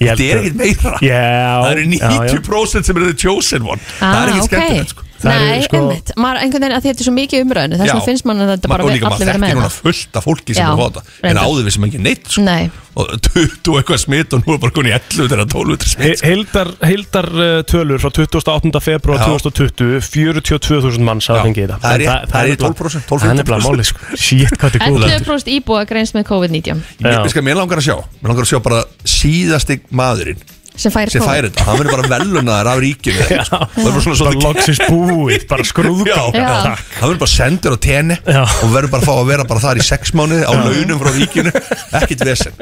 Ég held Þetta er að- ekkit meira Já, Það eru já, já. 90% sem eru the chosen one Það er Ah, ekkit ok. skemmtilegt sko. Það er, Nei, sko- einmitt, maður einhvern veginn að þetta er svo mikið umræðinu þess Já. vegna finnst mann að þetta bara og við- líka maður allir vera þekkir með núna fullt af fólki sem Já, er að fóta en reyndar. Mm. áður við sem ekki neitt sko. þetta Nei, og 20 og eitthvað smitt og nú er bara konið 11 þegar 12 þeirra sko. smitt Hildar, hildar uh, tölur frá 28. februar Já. 2020 42.000 manns hafa fengið þetta það er En rétt, það er nefnilega- 12%, Það er 12-15%. nefnilega málið sko Shit, hvað þetta er góð 11% íbúa greinst með COVID-19 Ég- Við skal, mér langar að sjá Mér langar að sjá bara síðasti maðurinn sem fær sem færi þetta, hann verður bara velunaður af <laughs> ríkinu eða eitthvað, sko. það verður svona Bara svolítið loksins búið, bara skrúðgang. Já, Já. já. hann verður bara sendur á tenni og verður bara að fá að vera bara þar í sex mánuði á launum frá ríkinu, ekkit vesen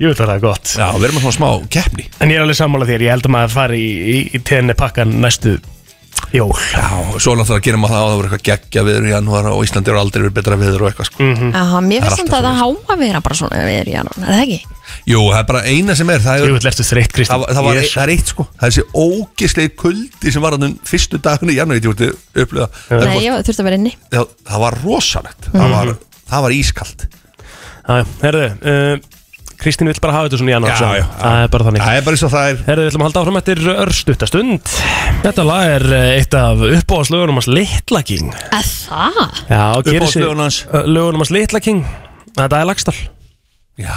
Jú, það er gott Já, verður maður svona smá keppni En ég er alveg sammála þér, ég held að maður fari í, í, í tenni pakkan næstu jól Já, svo náttúrulega gerir maður það á það verður eitthvað geggja viður í janúar og Íslandi eru aldrei verið betra viður og eitthvað sko. Mhm. Aha, Mér Það er finnst samt alltaf að það háma að vera bara svona við erum í janúar, er það ekki? Jú, það er bara eina sem er Það er, Jú, lertu þreitt, Kristján það, það, var, Yes. það er eitt sko Það er þessi ógeslegi kuldi sem var þannig fyrstu dagunni í janúi Ég veit, ég upplöða það, Nei, var- ég þurfti að vera inni það, það var rosalegt það, var, Mhm. það var ískalt Já, herðu, uh, Kristín vill bara hafa þetta svona í janúar Já, sagði hún. já, Það er bara þannig Það er bara eins og það er Herðu, við ætlum að halda áfram eftir örstuttastund Þetta lag er eh, eitt af uppáðslögunum hans Litla King Að það? Já, gerir sig Uppáhaldslögunum hans? Ö, Lögunum hans Litla King Þetta er lagstall Já,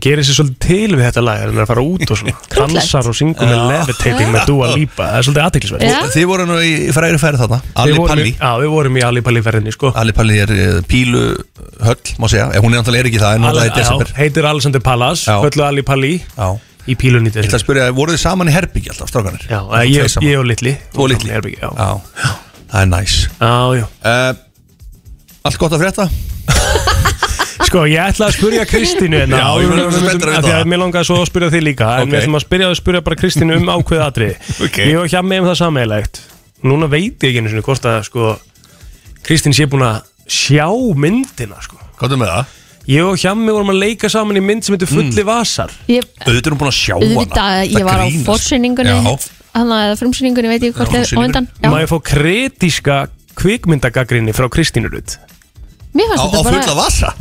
Gerir sér svolítið til við þetta lag Þannig að fara út og svona <laughs> Kransar og syngur með Já. levitating með Dua Lipa Það er svolítið aðteklisverð Og Þið voru nú í fræri færi þarna Við Ali vorum Palli í- Já, við vorum í Ali Palli ferðinni sko Ali Palli er eh, píluhöll má segja, Eh, hún er náttúrulega er ekki það en hún er það í Al- desember já, Heitir Alexander Palace Höllu Ali Palli Já. Í pílunni Ég ætla að spyrja, voru þið saman í herbyggi alltaf, strákanir? Já, eh, ég- ég og Litli Þú og Litli herbyggi, já. já, það er næs Eh, Já, já Allt gott að frétta? Sko, ég ætla að spyrja Kristínu hérna Já, ég var alveg spenntur að vita að það. það Mér langaði svo að spyrja þig líka En Ok. við ætlum að spyrja, spyrja bara Kristínu um ákveð atri Ok. Ég var hjá með um það sameigilegt Núna veit ég ekki einu sinni hvort að sko, Kristín sé búin að sjá myndina sko. Hvað er með það? Ég og hjá mig vorum að leika saman í mynd sem heitir Fulli Mm. Vasar Ég, Auðvitað er hún búin að sjá auðvitað, ég var á fórsýningunni Þannig að frumsýningunni veit ég hvort er á undan Já. Má ég fá kritíska kvikmyndagagrinni frá Kristínu Rut Mér fannst þetta bara vasa? Hvað,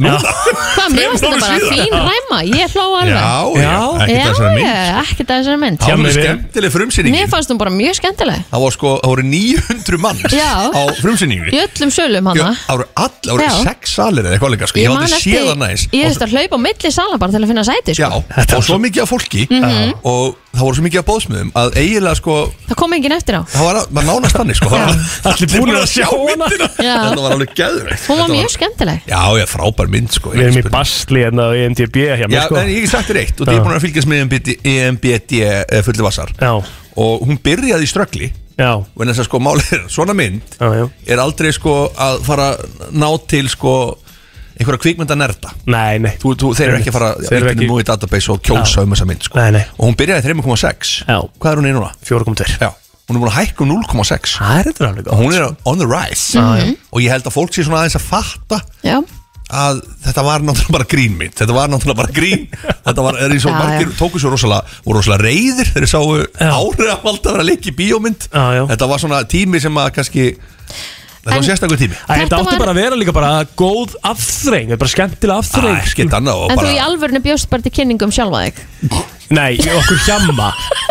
mér fannst þetta bara fín ræma Ég hló alveg Já, já, ekkert að þessari mynd. Já, ekkert að þessari mynd Það var skemmtileg frumsýningin Mér fannst hún bara mjög skemmtileg Það var sko, það voru 900 mann Já. á frumsýningunni Í öllum sölum hana Það voru all, það voru Já. sex salir eða eitthvað líka sko. Ég hef aldrei séð það næs Ég þurfti að hlaupa á milli sala bara til að finna sæti sko. Já, og svo mikið af fólki Mhm. og það voru svo mikið af bóðsmöðum að eiginlega sko, Það kom enginn eftir á það var, maður nánast þannig sko, það var allir búin að sjá hana Já. Þetta var alveg geðveikt Hún var Þetta mjög skemmtileg Já, já, frábær mynd sko Við erum í basli hérna á EMTB hjá mig Já, sko. en ég hef sagt þér eitt og það er Já. búin að fylgjast með E EMBD, EMBD eh, fulli vassar Já. og hún byrjaði í ströggli Já. en þess að sko málið er, svona mynd Já, já. er aldrei sko að fara að ná til sko einhverja kvikmynda nerda Nei, nei þú, þú, Þeir eru ekki að fara Þeir eru að ekki- ekki... í database og kjósa um þessa mynd sko. Nei, nei Og hún byrjaði 3,6 Hvað er hún í núna? 4,2 Já Hún er búin að hækka um 0,6 Það er þetta alveg gott Hún er on the rise Já, já. Og ég held að fólk sé svona aðeins að fatta Já. að þetta var náttúrulega bara grín mitt Þetta var náttúrulega bara <laughs> grín Þetta var, er eins og Já, margir tóku svo rosalega voru rosalega reyðir þegar þeir sáu árið að valda að vera að leikja í bíómynd já, já. Þetta var svona tími sem að kannski Þetta var sérstakur tími Æ, Þetta átti bara að vera líka bara góð afþreng Þetta er bara skemmtilega afþreng Æ, skemmt annað En þú í alvörinu bjóst bara til kynningum sjálfa þig Nei, okkur hjamma <laughs>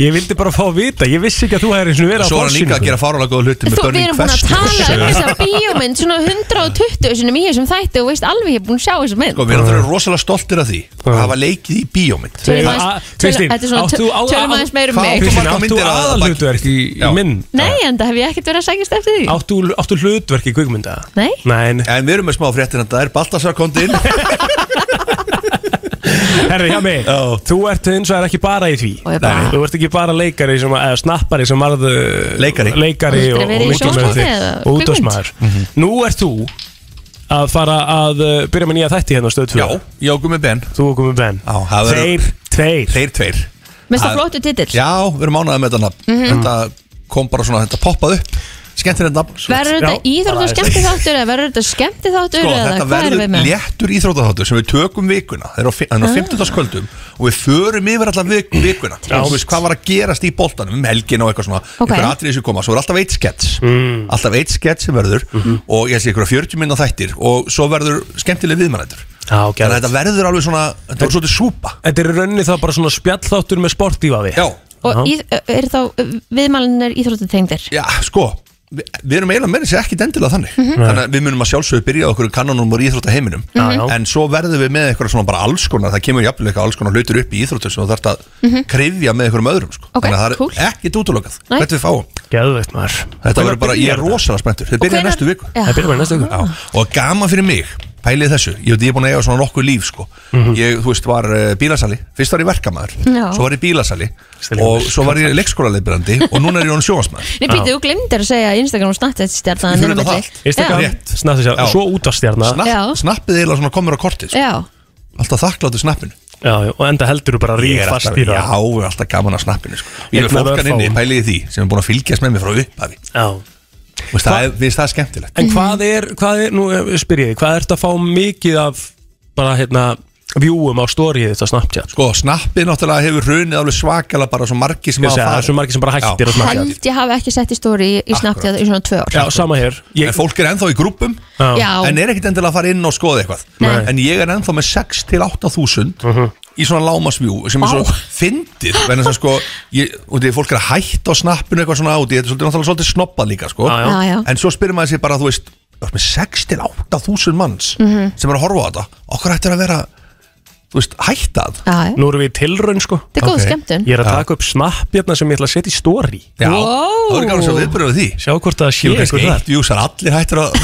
Ég vildi bara fá að vita, ég vissi ekki að þú hefði eins og verið á Svo er hann líka að gera fáralega góða hluti En með Þú, við Burning erum búin að Quest <laughs> Sko, tala um þessa bíómynd svona 120 sinum í þessum þætti og veist alveg ég er búin að sjá þessa mynd Sko, við erum náttúrulega rosalega stoltir af því að hafa leikið í bíómynd Tölum aðeins- A- tölum- Kristín, þetta er svona áttu á- tölum aðeins meira um mig. Kristín, áttu aðalhlutverk í, í mynd Nei, en það hef ég ekkert verið að sækjast eftir því Áttu, áttu hlutverk í kvikmynda Nei, <laughs> Nein. En við erum með smá fréttin að það er Baltasar <laughs> kondi inn Herri, hjá mig Þú ert hins vegar ekki bara í því ég bara- Nei. Þú ert ekki bara leikari sem, að- eða snappari sem varð uh, Leikari. Mhm. Leikari Þú ert og, að vera í og sjónvarpi myndlistarmaður. eða Og kvikmynd. útvarpsmaður. Nú ert þú að fara að uh, byrja með nýja þætti hérna á stöð 2 Já, ég og Gumi Ben Þú og Gumi Ben Já, það Þeir, tveir Þeir, tveir Mest að Það- flottu titill Já, við erum ánæðið með þetta nafn Mhm. Þetta kom bara svona, þetta poppaði upp Skemmtilegt nafn Verður þetta íþrótt og skemmti þáttur eða verður þetta skemmti þáttur Sko, eða þetta hvað erum við verður með? léttur íþróttaþáttur sem við tökum vikuna það er á fi- það er á Ah. 50. kvöldum og við förum yfir allan vik, vikuna Já. og þú veist hvað var að gerast í boltanum um helgin og eitthvað svona Ok. okay. atriði sem koma, svo er alltaf eitt skets alltaf eitt skets sem verður og ég sé ykkur 40 minna þættir og svo verður skemmtileg viðmannættur Já, þannig að þetta verður alveg svona þetta verður svolítið súpa Þetta er í rauninni það bara svona spjallþáttur með sportífaði Já Og í- eru þá viðmælinir íþróttu tengdir? Já, sko Vi, við erum eiginlega meira sér ekki dendilega þannig Mhm. þannig að við munum að sjálfsögðu byrja á okkur kanonum úr íþrótta heiminum Já, já. en svo verðum við með eitthvað svona bara alls konar það kemur jafnvel eitthvað alls konar hlutur upp í íþróttu sem þú þarft að Mhm. krifja með einhverjum öðrum sko. Ok, þannig að það er cool. ekkit útlokað Nei. hvert við fáum Geðveikt maður þetta verður bara, ég er rosalega spenntur þau byrja hvenær- næstu viku Já. Þeir byrja bara í næstu viku. Já. og gaman fyrir mig pælið þessu, ég, veit, ég er búin að eiga svona nokkuð líf sko. ég, þú veist, var uh, bílasali fyrst var ég verkamæður, Mhm. Já. svo var ég bílasali og svo var ég leikskóraleibrandi og núna er ég orðinn sjónvarpsmaður. Nei, býttu, þú glemdir að segja Instagram og Snapchat stjarnan Fyrir þetta allt. Instagram, Snappi sér, svo útastjarna Snapp, Snappið eiginlega svona komur á kortið sko. Já, Alltaf þakkláttu snappinu Já, já, og enda heldur þú bara Ég rík er fast alltaf, í já, það við er alltaf gaman að snappinu sko. Ég er Einn af fólkan örfáum. inni, pæliði því sem er búin að fylgjast með mér frá upphafi Já Vist, það, er, viðst, það er skemmtilegt En hvað er, hvað er, nú eh, spyr ég þig, hvað ertu að fá mikið af bara hérna vjúum á stórið þetta Snapchat? Sko, Snappið náttúrulega hefur hrunið alveg svakala bara svo margi sem Ég hafa segi það, farið. svo margir sem bara hættir Já. að Snapchat. held ég hafi ekki sett í stóri í Snapchat í svona tvö ár Já, sama hér ég... En fólk er ennþá í grúpum Já. En er ekkit endilega að fara inn og skoða eitthvað Nei. En ég er ennþá með 6 til 8 þúsund Mhm. Í svona lámasvjú Sem er svo fyndið Þannig að sko ég, og því, Fólk er að hætta á snappinu eitthvað svona áti Þetta er svolítið, náttúrulega svolítið snoppa líka sko. Já, já. Já, já. En svo spyrir maður sér bara Þú veist, þú veist með 6 til 8 þúsund manns Mhm. Sem er að horfa á þetta Okkur ættir að vera Þú veist, hættað Já, já. Nú erum við í tilraun sko Þetta er góð Ok. skemmtun. Ég er að taka upp Snap hérna sem ég ætla að setja í story Já, Wow. það verður gaman að sjá viðbröðu því Sjá hvort það sé Kemur kannski einhver eitt vjúsar allir hættir að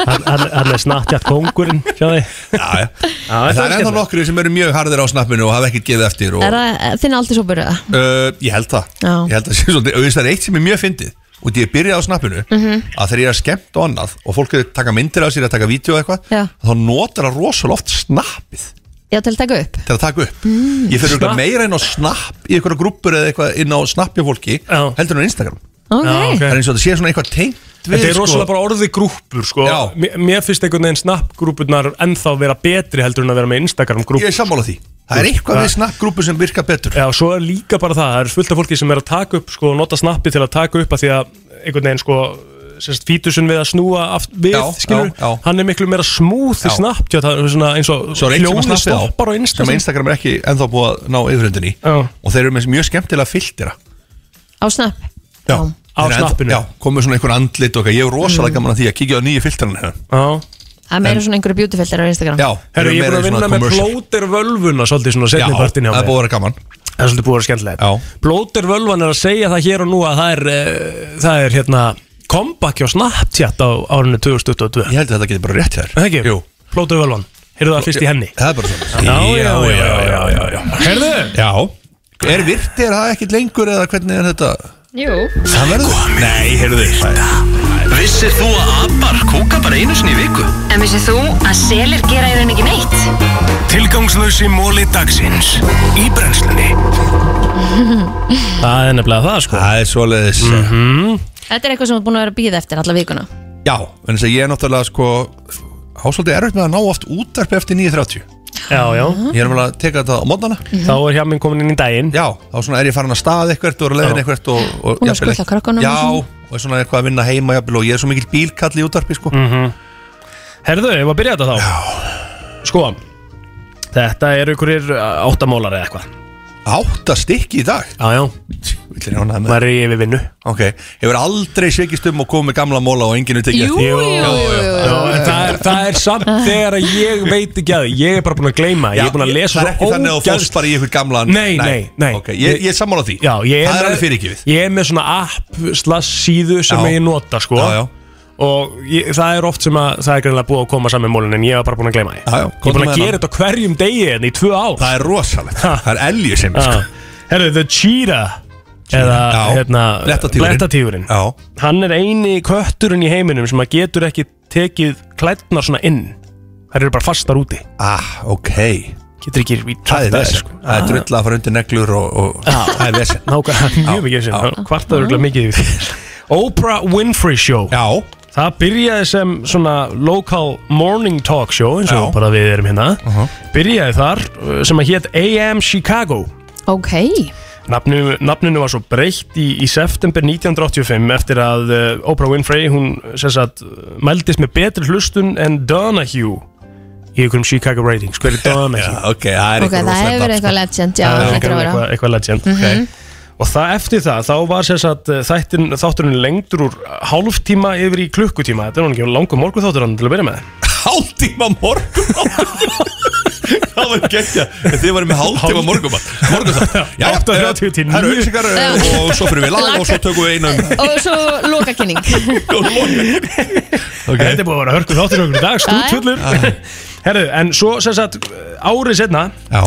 Hann hann- hann er Snapchat kongurinn, sjá þig Já, já En það er það er ennþá skemmtilegt. nokkru sem eru mjög harðir á snappinu Og hafa ekkert gefið eftir og, Er það eh, þinn aldrei svo byrjuða? Uh, ég held það Já. Ég held það sé svolítið Og það er eitt sem er mjög fyndið Og því ég byrjaði á snappinu Mhm. Að þegar ég er skemmt og annað Og fólk er að taka myndir af sér Að taka vídeo og eitthvað Já, Þá notar það rosalega oft snappið já til að taka upp Til að taka upp Ég fyrir Snapp. eitthvað meira inn á snapp Í einhverja grúppur eða eitthvað Inn á snapp hjá fólki Heldur en á Instagram Ok. Já, ok. Það er eins og það sé svona eitthvað tengt við, Þetta er sko. rosalega bara orðið grúpur sko Mér- Mér finnst einhvern veginn Snap-grúpurnar ennþá vera betri heldur en að vera með Instagram-grúpur Ég er sammála því Það er eitthvað við snappgrúpu sem virka betur Já, svo er líka bara það, það er fullt af fólki sem er að taka upp sko, og nota snappi til að taka upp að því að einhvern veginn sko sérst, fítusun við að snúa aft við, Já, skilur, já, já. hann er miklu meira smúð í Já. snappi og það er svona eins og Svo er eitt sem að snappið á stoppar á Sem Instagram Instagram er ekki ennþá búið að ná yfirhundin í Og þeir eru með mjög skemmtilega filtera Á Snap Já, Á Þeir eru ennþá- snappinu. Já, komið svona einhver andlit og eitthvað Ég er rosalega Mm. gaman að því að kíkja á nýju filteran hérna Já, Það er meira svona einhverju beautyfilter á Instagram Herru, Mm. ég er búin að vinna með plóter völvuna svolítið svona setni Já, partin hjá það er búið að vera gaman Það er svolítið búið að vera skemmtilegt Plóter völvan er að segja það hér og nú að það er, eh, það er hérna comeback hjá Snapchat á árinu 2022 Ég held að þetta getur bara rétt hér Það ekki? Jú Plóter völvan, heyrðu það fyrst í henni Það er bara svona Já, já, já, já, já, já. Herðu? Já Er virti, er það ekkit lengur eða hvernig er þetta? Jú Það verður Nei, heyrðu þið Vissir þú að abar kúka bara einu sinni í viku? En vissið þú að selir gera í raun ekki neitt? Tilgangslösi móli dagsins Í brennslunni Það er nefnilega það sko Það er svoleiðis mm Mhm. -hmm. Þetta er eitthvað sem er búin að vera að býða eftir alla vikuna Já, en þess að ég er náttúrulega sko Hásaldi erfitt með að ná oft útarp eftir 9.30 Já, já Ég er vel að teka þetta á mótnana Mhm. Þá er hjá minn komin inn í daginn Já, þá svona er ég farin að stað eitthvert og er að leiðin Já. eitthvert og, og Búin að jafnvel skutla ekki- krökkunum og Já, svona. og er svona eitthvað að vinna heima jafnvel og ég er svo mikill bílkall í útarpi sko Mhm. Herðu, ég var að byrja þetta þá já. Sko Þetta eru ykkurir áttamólar eða eitthvað Átta stykki í dag? Já, já Maður er í yfirvinnu Ok, hefur aldrei sveikist um og komið með gamla móla og enginu tekið Jú, jú, jú, jú, jú. En það er, það er samt þegar að ég veit ekki að því. Ég er bara búin að gleyma Ég er búin að lesa Það er ekki þannig að þú fórst bara í ykkur gamlan Nei, nei, nei Ok, ég, ég er sammála því Já, ég er Það er með- alveg fyrirgefið Ég er með svona app slash síðu sem Já. ég nota sko Já, já. Og ég, það er oft sem að það er greinlega búið að koma saman mólin En ég var bara búin að gleyma því Já, já, Ég er búin komdu með að gera þetta á hverjum degi en í tvö ár Það er rosalegt Það er elju sem er sko Herru, The Cheetah Eða Já, hérna blettatígurinn. Blettatífurinn Hann er eini kötturinn í heiminum sem að getur ekki tekið klætnar svona inn Það eru bara fastar úti Ah, ok Getur ekki við Það er vesen kvartað þessu, sko. Það er drull að fara undir neglur og, og Það er vesen Ah, Nákvæmlega, Já, mjög mikið sem já. hann kvartaður örugglega mikið yfir því. Oprah Winfrey Show Já Það byrjaði sem svona local morning talk show eins og Já. Uh-huh. bara við erum hérna Byrjaði þar uh, sem að hétt AM Chicago Ok Nafninu, nafninu var svo breytt í, í september 1985 eftir að uh, Oprah Winfrey hún uh, sem sagt mældist með betri hlustun en Donahue í einhverjum Chicago ratings <laughs> Hver er Donahue? ok, það Ok, það hefur sko? eitthvað legend, já, Það er hlýtur að vera. eitthvað, eitthvað legend Mhm. Og það eftir það, þá var sér satt þættin, þátturinn lengdur úr hálftíma yfir í klukkutíma Þetta er nú ekki langur morgu þáttur hann til að byrja með Hálftíma morgu <laughs> Það var geggja En Þið varum með hálftíma morgum Morgum það Já, 8.30 til 9. Það eru auðsingar og svo fyrir við lag og svo tökum við einu um <laughs> Og svo lokakenning okay. Þetta er búið að vera hörku þáttur okkur í dag, stútfullur <laughs> Herðu, en svo sem sagt árið setna,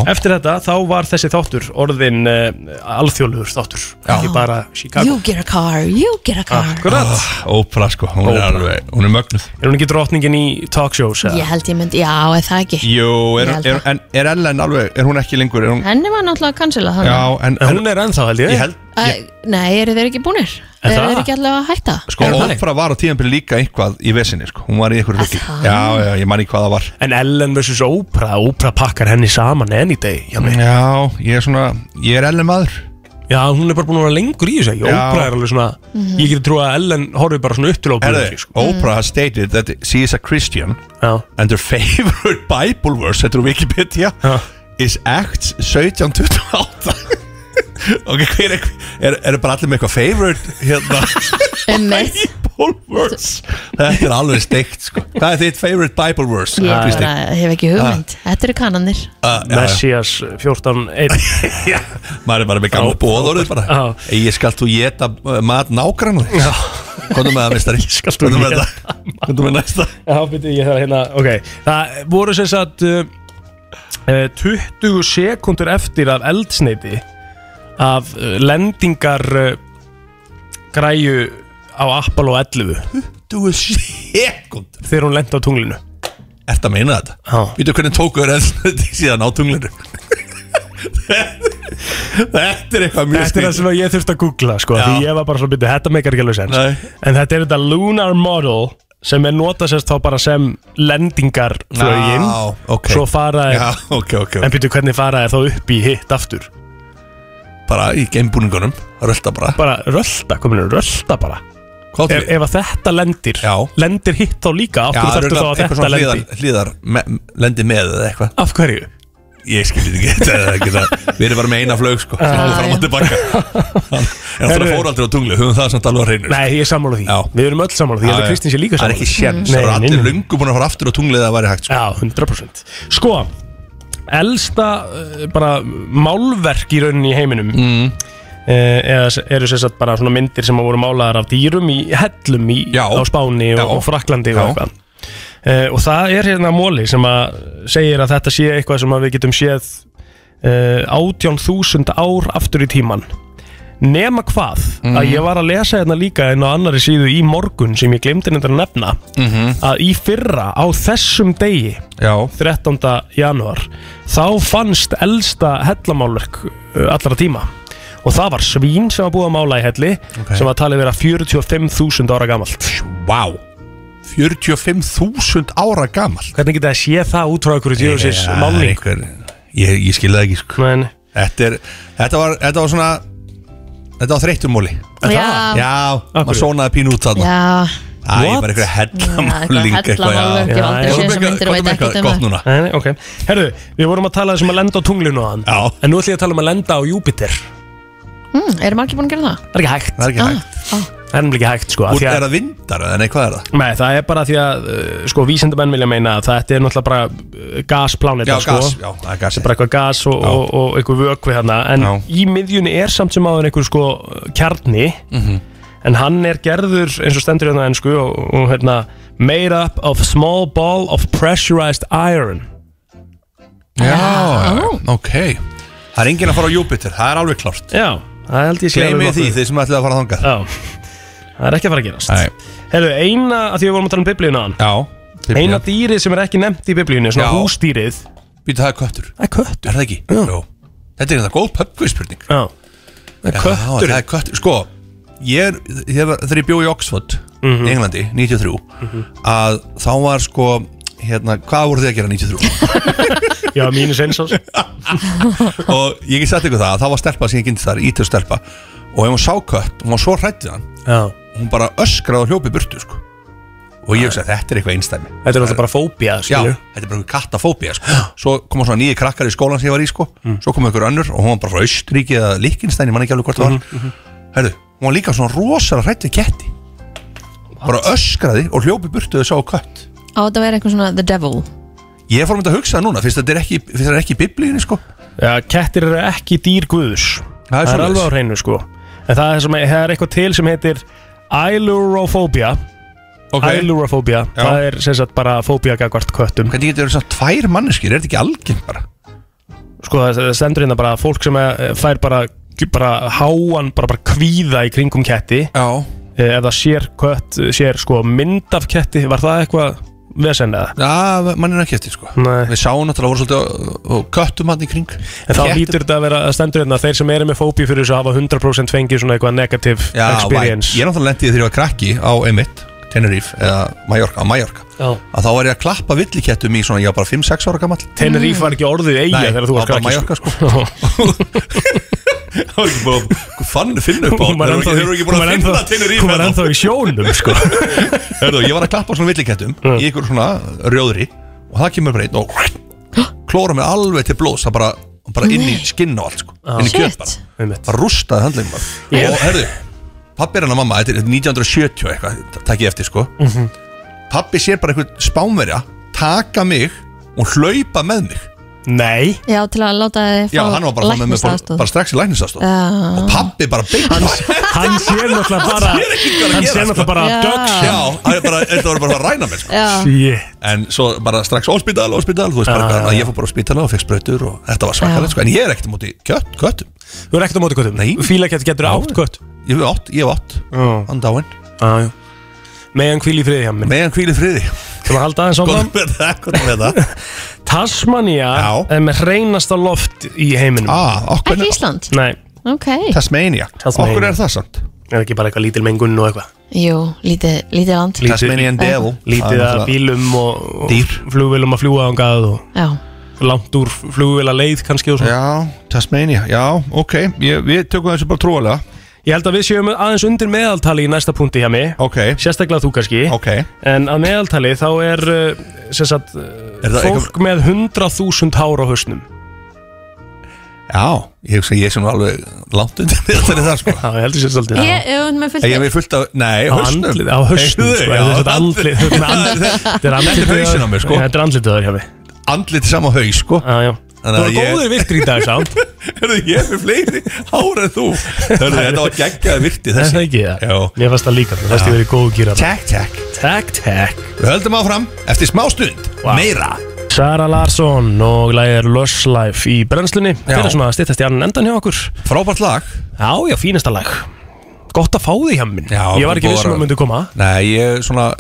eftir þetta þá var þessi þáttur orðin uh, alþjóðlugur þáttur, Já. ekki bara Chicago You get a car, you get a car Akkurat Ópra sko, hún er alveg, hún er mögnuð Er hún ekki drottningin í talkshows? eða? Ég held ég myndi, já, er það ekki Jú, er, Ég held er, það. en er Ellen alveg, er hún ekki lengur? Er hún, Henni var náttúrulega cancelað já, þannig en, en hún er ennþá held ég Ég held, Æ, Nei, eru þeir ekki búnir? Er Eru það? þeir ekki allavega að <laughs> hætta? sko, Eru það? Ópra var á tíðanbyrju líka eitthvað í vesinni sko Hún var í eitthvað ruggi Já, já, ég man ekki hvað það var En Ellen vs. Oprah, Oprah pakkar henni saman any day hjá Mhm. mig. Já, ég er svona, ég er Ellen maður Já, hún er bara búin að vera lengur í þessu ekki? Já. Oprah er alveg svona, Mhm. ég geti trú að Ellen horfi bara svona upp til Oprah Herðu, Oprah has stated that she is a Christian and her <laughs> favorite Bible verse þetta er úr Wikipedia is Acts 1728 <laughs> ok, hver er er, er bara allir með eitthvað favorite hérna Einmitt. Bible verse þetta er alveg steikt sko hvað er þitt favorite Bible verse? Ég Kristín? bara hef ekki hugmynd Þetta eru kannanir Ah, já, já. Messias eh, <laughs> 14.1 Já, maður er bara með gamla bóðorðið bara Ég skalt þú geta mat nágrann Kondum með það, mistari Skalt þú geta Kondum með næsta Já, byrju, ég þarf að hérna, ok Það voru sem sagt uh, uh, 20 sekundur eftir af eldsneiti af uh, lendingar uh, græju á Apollo 11 20 sekundur Þegar hún lendi á tunglinu Ertu að meina þetta? Vítu hvernig tóku þér eldsneiti <laughs> síðan á tunglinu Þetta er eitthvað mjög Þetta er það sem að ég þurfti að googla sko, Já. Því ég var bara svona byrju, þetta meikar ekki alveg sens En þetta er þetta lunar model sem er nota sérst þá bara sem lendingarflögin Já, ok. Svo fara þeir- Já, ok, ok, ok. En byrju hvernig fara þeir þá upp í hitt aftur Bara í geimbúningunum, rölda bara Bara rölda, kominu, rölda bara Hvað Ef, ef að þetta lendir Já. Lendir hitt þá líka Af Já, hverju þarftu þá örugglega að eitthvað þetta svona lendi hlíðar, hlíðar me, lendi með eða eitthvað Af hverju? Ég skilji ekki, <laughs> þetta er ekki það Við erum bara með eina flög sko, sem hóðu fram og tilbaka <laughs> En það Ah, Herru. fór aldrei á tungli, höfum það samt alveg að reynir Nei, ég er sammála því Við erum öll sammála því, ég held að Kristín sé líka Það sammála er ekki því. séns, Nei, það er nei, allir nei. lungu búin að fara aftur á tunglið að það væri hægt sko. Já, 100% Sko, elsta uh, bara málverk í rauninni í heiminum mm. eða s- eru sér satt bara svona myndir sem að voru málaðar af dýrum í hellum í, á Spáni og, og Fraklandi og eitthvað uh, og það er hérna móli sem að segir að þetta sé eh, eitthvað sem að við getum séð uh, 18.000 ár aftur í tíman Nema hvað, að ég var að lesa hérna líka en á annari síðu í morgun sem ég glemdi nefndar að nefna Mhm. að í fyrra á þessum degi Já 13. januar þá fannst elsta hellamálverk uh, allra tíma og það var svín sem var búið að mála í helli sem var talið vera 45.000 ára gamalt Vá wow. 45.000 ára gamalt Hvernig geta það sé það út frá ykkur djóðsins Ja, málning? einhver- Ég, ég skil það ekki sko þetta, er, þetta, var, þetta var svona Þetta var þreytumóli Já. Já, maður svonaði pínu út þarna Já Æ, ég var eitthvað Já, hellamáling eitthvað hellamálverk, ég hef aldrei séð þessar myndir og veit ekkert um það. Nei, nei, ok Herðu, við vorum að tala þessum að lenda á tunglinu á hann Já En nú ætlum ég að tala um að lenda á Júpiter mm, Eru margir búin að gera það? Það er ekki hægt Það er ekki hægt Það er nefnilega ekki hægt, sko af Úr- því að- er það vindar eða nei, hvað er það? Nei, það er bara því að, uh, sko, vísindamenn vilja meina að þetta er náttúrulega bara uh, gasplánetar, Já, sko gas, já, það er gas Það er bara eitthvað gas og, og, og eitthvað vökvi hérna En í miðjunni er samt sem áður einhver, sko, kjarni Mhm. En hann er gerður, eins og stendur hérna enn, sko og, og hérna, made up of small ball of pressurized iron Já, ok Það er enginn að fara á Júpiter, það er alveg klárt Já, það held ég sé alveg Gleimið nokkuð. því, þið sem ætlaði að fara þangað Já, það er ekki að fara að gerast Nei. Herðu, eina, að því við vorum að tala um biblíuna hann Já, biblíuna. Eina dýrið sem er ekki nefnt í biblíunni, svona Já. húsdýrið Býtu, það er köttur Það er köttur Er það ekki? Jó Þetta er þetta góð pöpkvíspurning Já Já, kötturinn. Það er köttur Sko, ég er, þegar þegar ég bjó í Oxford Mhm. í Englandi, 93 Mhm. að þá var sko hérna, hvað voru þið að gera <laughs> 93? Já, mínus eins ás og ég get sagt ykkur það, að það var stelpa sem ég kynntist þar, ítöð stelpa og ef hún sá kött, hún var svo hrættið hann Já. hún bara öskraði og hljópi burtu sko. og ég hugsa að þetta er eitthvað einstæmi Þetta er náttúrulega bara fóbía Já, þetta er bara kattafóbía sko. Svo koma svona nýju krakkar í skólan sem ég var í sko. Mm. Svo koma ykkur önnur og hún var bara frá Austuríki eða Líkinstein, ég man ekki alveg hvort það var Mm-hmm, Herðu, hún var líka svona rosalega hrætt við ketti Bara öskraði og hljópi burtu þau sá kött Á þetta að vera eitthvað svona the devil Ég fór að mynda að hugsa það núna, finnst þetta er ekki, finnst þetta er ekki í biblíunni sko Já, kettir eru ekki dýr guðus Það er Það er svoleiðis. alveg á hreinu, sko En það er, sem, það er eitthvað til sem heitir Ailurophobia Ok. Ailurophobia, Já. það er sem sagt bara fóbía gagvart köttum Hvernig getur verið svona tvær manneskir, er þetta ekki algeng bara? Sko, það það stendur hérna bara að fólk sem eh, fær bara, bara háan, bara, bara kvíða í kringum ketti eh, Já Ef það sér kött, sér sko mynd af ketti, var það eitthvað vesen eða? Já, mann er ekki eftir sko Nei. Við sáum náttúrulega voru svolítið á- á- á köttum hann í kring En þá Kettum. lítur þetta að vera að stendur hérna Þeir sem eru með fóbíu fyrir þessu hafa 100% fengið svona eitthvað negative Já, experience væ- Ég náttúrulega lendi í því þegar ég var krakki á Emitt Tenerife eða Mallorca, á Mallorca Já. að þá var ég að klappa villikettum í svona, ég var bara 5-6 ára gammal Tenerife var ekki orðið eiga þegar þú Nei, varst krakki, það var bara Mallorca sko <laughs> Það var ekki búin að fann finna upp á Hún var Þeir eru- ennþá í- þeir eru ekki búin hún að var finna ennþá- Tenerife hún var ennþá í sjónum sko Hörðu, ég var að klappa á svona villikettum í ykkur svona rjóðri og það kemur bara einn og klóra mig alveg til blóðs það bara, bara inn í Nei. skinn og allt sko inn í kjöt bara, Einmitt. bara rústaði handlegum bara. Ég- og herðu, pappi er hann að mamma þetta er 1970 og eitthvað, það takk ég eftir sko Mhm. pappi sér bara einhvern spámverja taka mig og hlaupa með mig Nei Já, til að láta þið fá Já, hann var bara, með mig bara, læknisaðstoð. bara strax í læknisastóð Já. og pappi bara beint <laughs> Hann sér náttúrulega bara Hann sér náttúrulega bara Já. dögs Já, það er bara, þetta var bara að ræna mig sko. Já. En svo bara strax á spítal, á spítal Þú veist Ah. bara hvað, að ég fór bara á spítala og fekk sprautur og þetta var svakalegt sko. En ég er ekkert á móti kött, köttum Þú er ekkert á móti köttum? Nei Fílakett getur átt kött Ah, Ég hef átt, ég hef átt Hann dáinn Já, já Megan hvíl í friði hjá mér Megan hvíl í friði Þú að halda aðeins áfram Góð <laughs> með það, góð með það Tasmania er með hreinasta loft í heiminum ah, Ekki Ísland? Nei Ok Tasmania Okkur er það samt Er ekki bara eitthvað lítil mengun og eitthvað Jú, lítið, lítið land Lítið- Lítið Það er að náttúrulega- bílum og, og flugvélum að fljúa ángað og Já, langt úr flugvél leið kannski og svona Já, Tasmania, já, ok ég, Við tökum þessu bara trúalega Ég held að við séum aðeins undir meðaltali í næsta punkti hjá mig okay. Sérstaklega þú kannski okay. En að meðaltali þá er, uh, sem sagt, er það fólk með 100.000 hár á hausnum Já, ég hugsa að ég sem alveg langt undir <laughs> þetta er það sko Já, ég heldur sér svolítið ég hef með fullt Ég er mér fullt af, nei, Á hausnum andlið- á hausnum, Heyrðu, sko, já, þetta er andlið- þetta er með andlið- þetta er andlitið <laughs> Þetta er hausin á á- mér, sko Já, þetta er andlitið á þér hjá mig Andlitið sama haus, sko Já, já Þú að er ég- góður virkri í dag samt Hörðu, ég er með fleiri hár en þú Hörðu, þetta var geggjað virti Það er <laughs> þessi það ekki það Mér fannst það líka Mér fannst ég verið góð gýra Takk, takk Takk, takk Við höldum áfram eftir smá stund Meira Sara Larsson og lagið er Lush Life í brennslunni Þetta er svona að styttast í annan endan hjá okkur Frábært lag Já, já, fínasta lag Gott að fá því hjá minn Já, Ég var ekki bara- vissum að myndi koma Nei, ég, svona,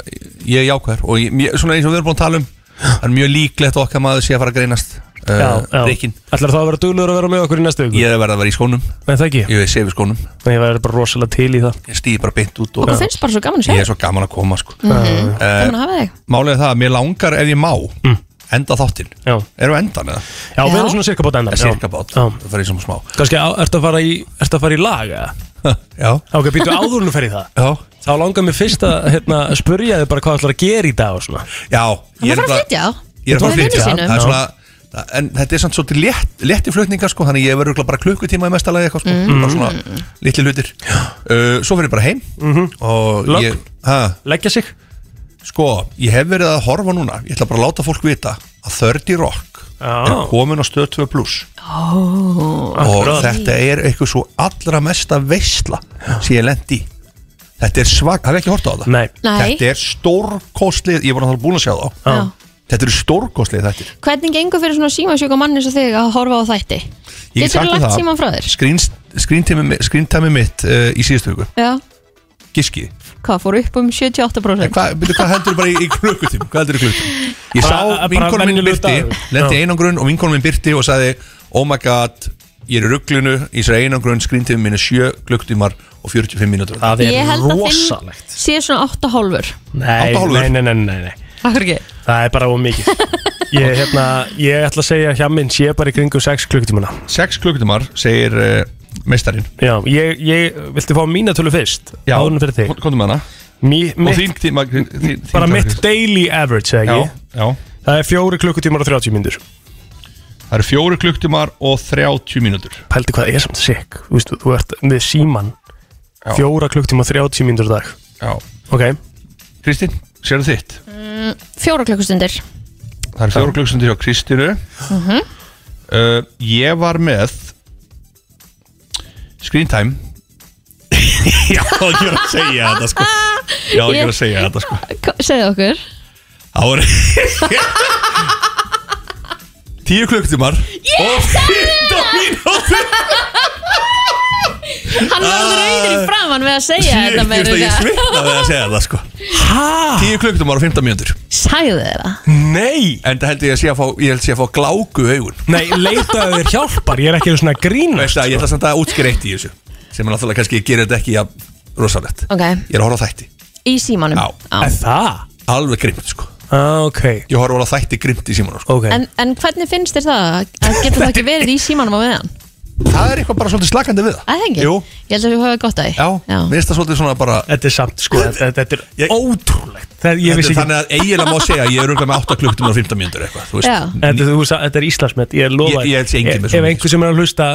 ég er jákvæður og ég, mér- svona eins og við erum búin að tala um það er mjög líklegt okkar maður sé að fara að greinast Eh, Já, já. Rikkin Ætlar þá að vera duglur að vera með okkur í næstu viku? Ég er að verða að vera í skónum Nei, það ekki Ég sé við skónum Ég verður bara rosalega til í það Ég stýði bara beint út og Okkur finnst bara svo gaman að sjá Ég þig. er svo gaman að koma sko Mhm. Eh, Gaman að hafa þig Málið er það að mér langar ef ég má Enda þáttinn Mm. Já Erum við endan eða? Já, við erum svona cirka bát endan já. Cirka bát Það fer í svona smá <laughs> Kanski, á- ertu að fara í, ertu að fara í lag, eða? Já Ok, býtu áður nú fer í það Já Þá langar mér fyrst að, hérna, spurja þig bara hvað ætlar að gera í dag og svona Já Hann er að fara að flytja þá. Ég er að fara að Með flytja vini Það er sínum. svona það- En þetta er samt svolítið létt, létti flutningar sko Þannig ég verður bara klukkutíma í mesta lagi eitthvað sko Mm. Bara svona litli hlutir uh, Svo fer ég bara heim og Lögn? ég, ha, Leggja sig? Sko, ég hef verið að horfa núna Ég ætla bara að láta fólk vita Að 30 Rock Ah. er komin á stöð 2 pluss oh, og þetta er eitthvað svo allra mesta veistla sem ég lendi í þetta er svag, hafið ekki hort á það? Nei. Nei. þetta er stórkostlið, ég var náttúrulega búin að sjá þá Já. þetta eru stórkostlið þetta Hvernig gengur fyrir svona símasjúka manni eins og þig að horfa á þætti? Ég Getur get sagt þú þér lagt það. síman frá þér? skrýntæmi mitt uh, í síðustu hugu Já, giskið, hvað fór upp um 78%? hvað, byrju, hvað heldur bara í, í klukkutíma hvað heldur í klukkutíma ég sá Bara- bara vinkonum minn venjulegur Byrti, dagur. lendi Já. í einangrun og vinkonum minn Byrti og sagði oh my god, ég er í rugglinu í þessari einangrun skrýntæmi minn er 7 klukkutímar og 45 mínútur Ah. það Ég held að þinn sé svona 8,5 Nei, nei, nei, nei, nei, nei Akkur ekki? Það er bara of mikið Ég, hérna, ég ætla að segja hjá minn sé bara í kringu 6 klukkutímuna 6 klukkutímar, segir uh, meistarinn Já, ég, ég, viltu fá mína tölu fyrst? Já, Áðurinn fyrir þig Komdu með hana Mí, Og mitt, þín tíma þín, þín Bara tíma- mitt daily average, eða Já, ekki? já Það er 4 klukkutímar og 30 mínútur Það eru 4 klukkutímar og 30 mínútur Pældi hvað er samt sikk Þú veist, þú ert með síman Já. 4 klukkutímar og 30 mínútur á dag Já Ok Kristín, sérðu þitt? Mm, Fjóra klukkustundir Það eru 4 klukkutímar hjá Kristínu mm uh, Ég var með Screen time <laughs> Já, það er ekki verið að segja þetta sko Já, það er ekki verið að segja þetta sko Segðu okkur Það voru <laughs> 10 klukkutímar Ég sagði það! Hann var alveg rauður í framann við að segja Ég- þú veist þetta með að Ég þetta svitna við að segja það sko Hæ? 10 klukkutímar og 15 mínútur Sagði þér það? Nei En það held ég að sé að fá, ég held sé að fá gláku augun Nei, leitaðu þér hjálpar, ég er ekki svona grín Veist það, ég ætla samt að útskýra eitt í þessu Sem er náttúrulega kannski gerir þetta ekki ja, rosalegt Ok, Ég er að horfa á þætti í símanum Já. það? Alveg grimt sko ah, okay. Ég horfa alveg á þætti grimt í símanum sko. okay. En, en hvernig finnst þér það <laughs> að geta það ekki verið í símanum á meðan? Það er eitthvað bara svolítið slakandi við það Að það ekki? Jú. Ég held að við höfum gott að því Já, mér finnst það svolítið svona bara Þetta er samt sko, þetta, þetta er ég, ótrúlegt það, Þetta Ég er vissi þannig ekki að eiginlega má segja að Ég er auðvitað með 8 klukkutum og 15 mínútur eitthvað Þú veist, Þetta, þú, sa- þetta er Íslandsmet, ég lofa Ég- ég held sé enginn með Ef- Ef svona einhver sem er að hlusta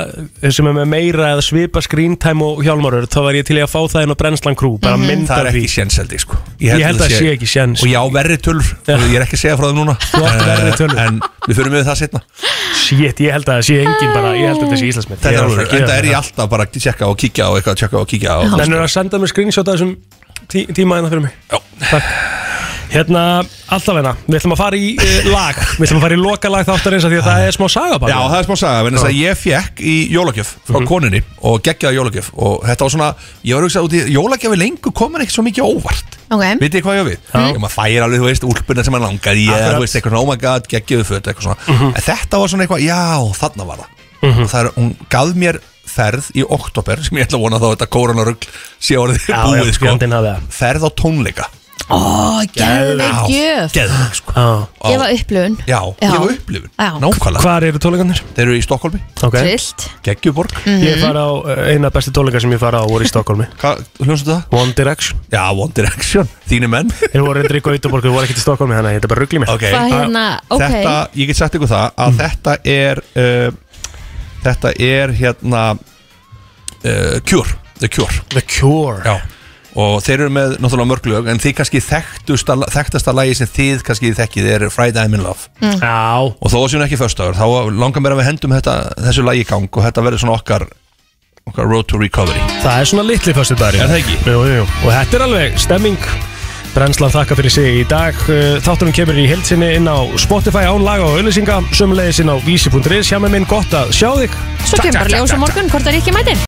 sem er með meira eða svipa screen time og hjálmarur þá var ég til í að fá það inn á Brennslan Crew bara Mhm. mynda Það er því ekki sénseldi sko Ég held að sé ekki séns. Og já, verri tölur Ég er ekki að segja frá það núna Eh, Þú átt verri tölur. En við förum við það setna Shit, ég held að það sé engin bara ég held að þetta sé Íslandsmet Þetta er Ég- alveg, þetta er ég alltaf bara að tjekka og kíkja á eitthvað, tjekka og kíkja á Þannig að senda mér screenshot af þessum tí tíma hérna fyrir mig Já Takk Hérna, alltaf hérna, við ætlum að fara í uh, lag Við ætlum að fara í lokalag þáttarins af Því að það er smá saga bara Já, það er smá saga, vegna þess að ég fekk í jólagjöf frá Mhm. konunni og geggjaði jólagjöf og þetta var svona, ég var að hugsa út í jólagjöfi lengur komin ekkert svo mikið á óvart Ok Vitið þið hvað ég á við? Ég maður færi alveg, þú veist, úlpuna sem maður langaði í eða, Akkurat. Mhm. þú veist, eitthvað svona, oh my god, geggjöðu föt eitthvað svona, en þetta var svona eitthvað, já, þarna var það og það er, hún gaf mér ferð í oktober, sem ég ætla að vona þá þetta koronarugl sé orðið Já, búið, já, fjandinn hafi það. sko ferð á tónleika Ó, geðveik gjöf. Geðveik, sko Ég var upplifun Já, Já. ég var upplifun Já. Nákvæmlega Hvar eru tónleikarnir? Þeir eru í Stokkólmi Ok Trillt Geggjuborg Mhm. Ég fara á uh, eina bestu tónleika sem ég fara á voru í Stokkólmi Hvað hljómsveit það? One Direction Já, One Direction Þínu menn Þeir voru reyndri í Gautaborg, þeir voru ekkert í Stokkólmi Þannig að þetta bara ruggli mér Ok Mm. Hvað hérna, ok Þetta, ég get sagt ykkur það að þetta er uh, þetta er hérna uh, Cure, The Cure The Cure Já Og þeir eru með náttúrulega mörg lög En þið kannski þekktasta, þekktasta lagi sem þið kannski þekkið er Friday I'm in Love Mm. Já Og þó að séum ekki föstaður Þá langar mér að við hendum þetta, þessu lagi í gang Og þetta verður svona okkar, okkar road to recovery Það er svona litli fyrstu dagar Er það ekki? Jú, jú, jú Og þetta er alveg stemming Brennslan þakka fyrir sig í dag Uh, Þátturinn kemur í heilsinni inn á Spotify án laga og auðlýsinga Sumulegis inn á vísi.is Hjá með minn gott að sjá þig Svo kemur bara ljós á morgun hvort það er ekki mætir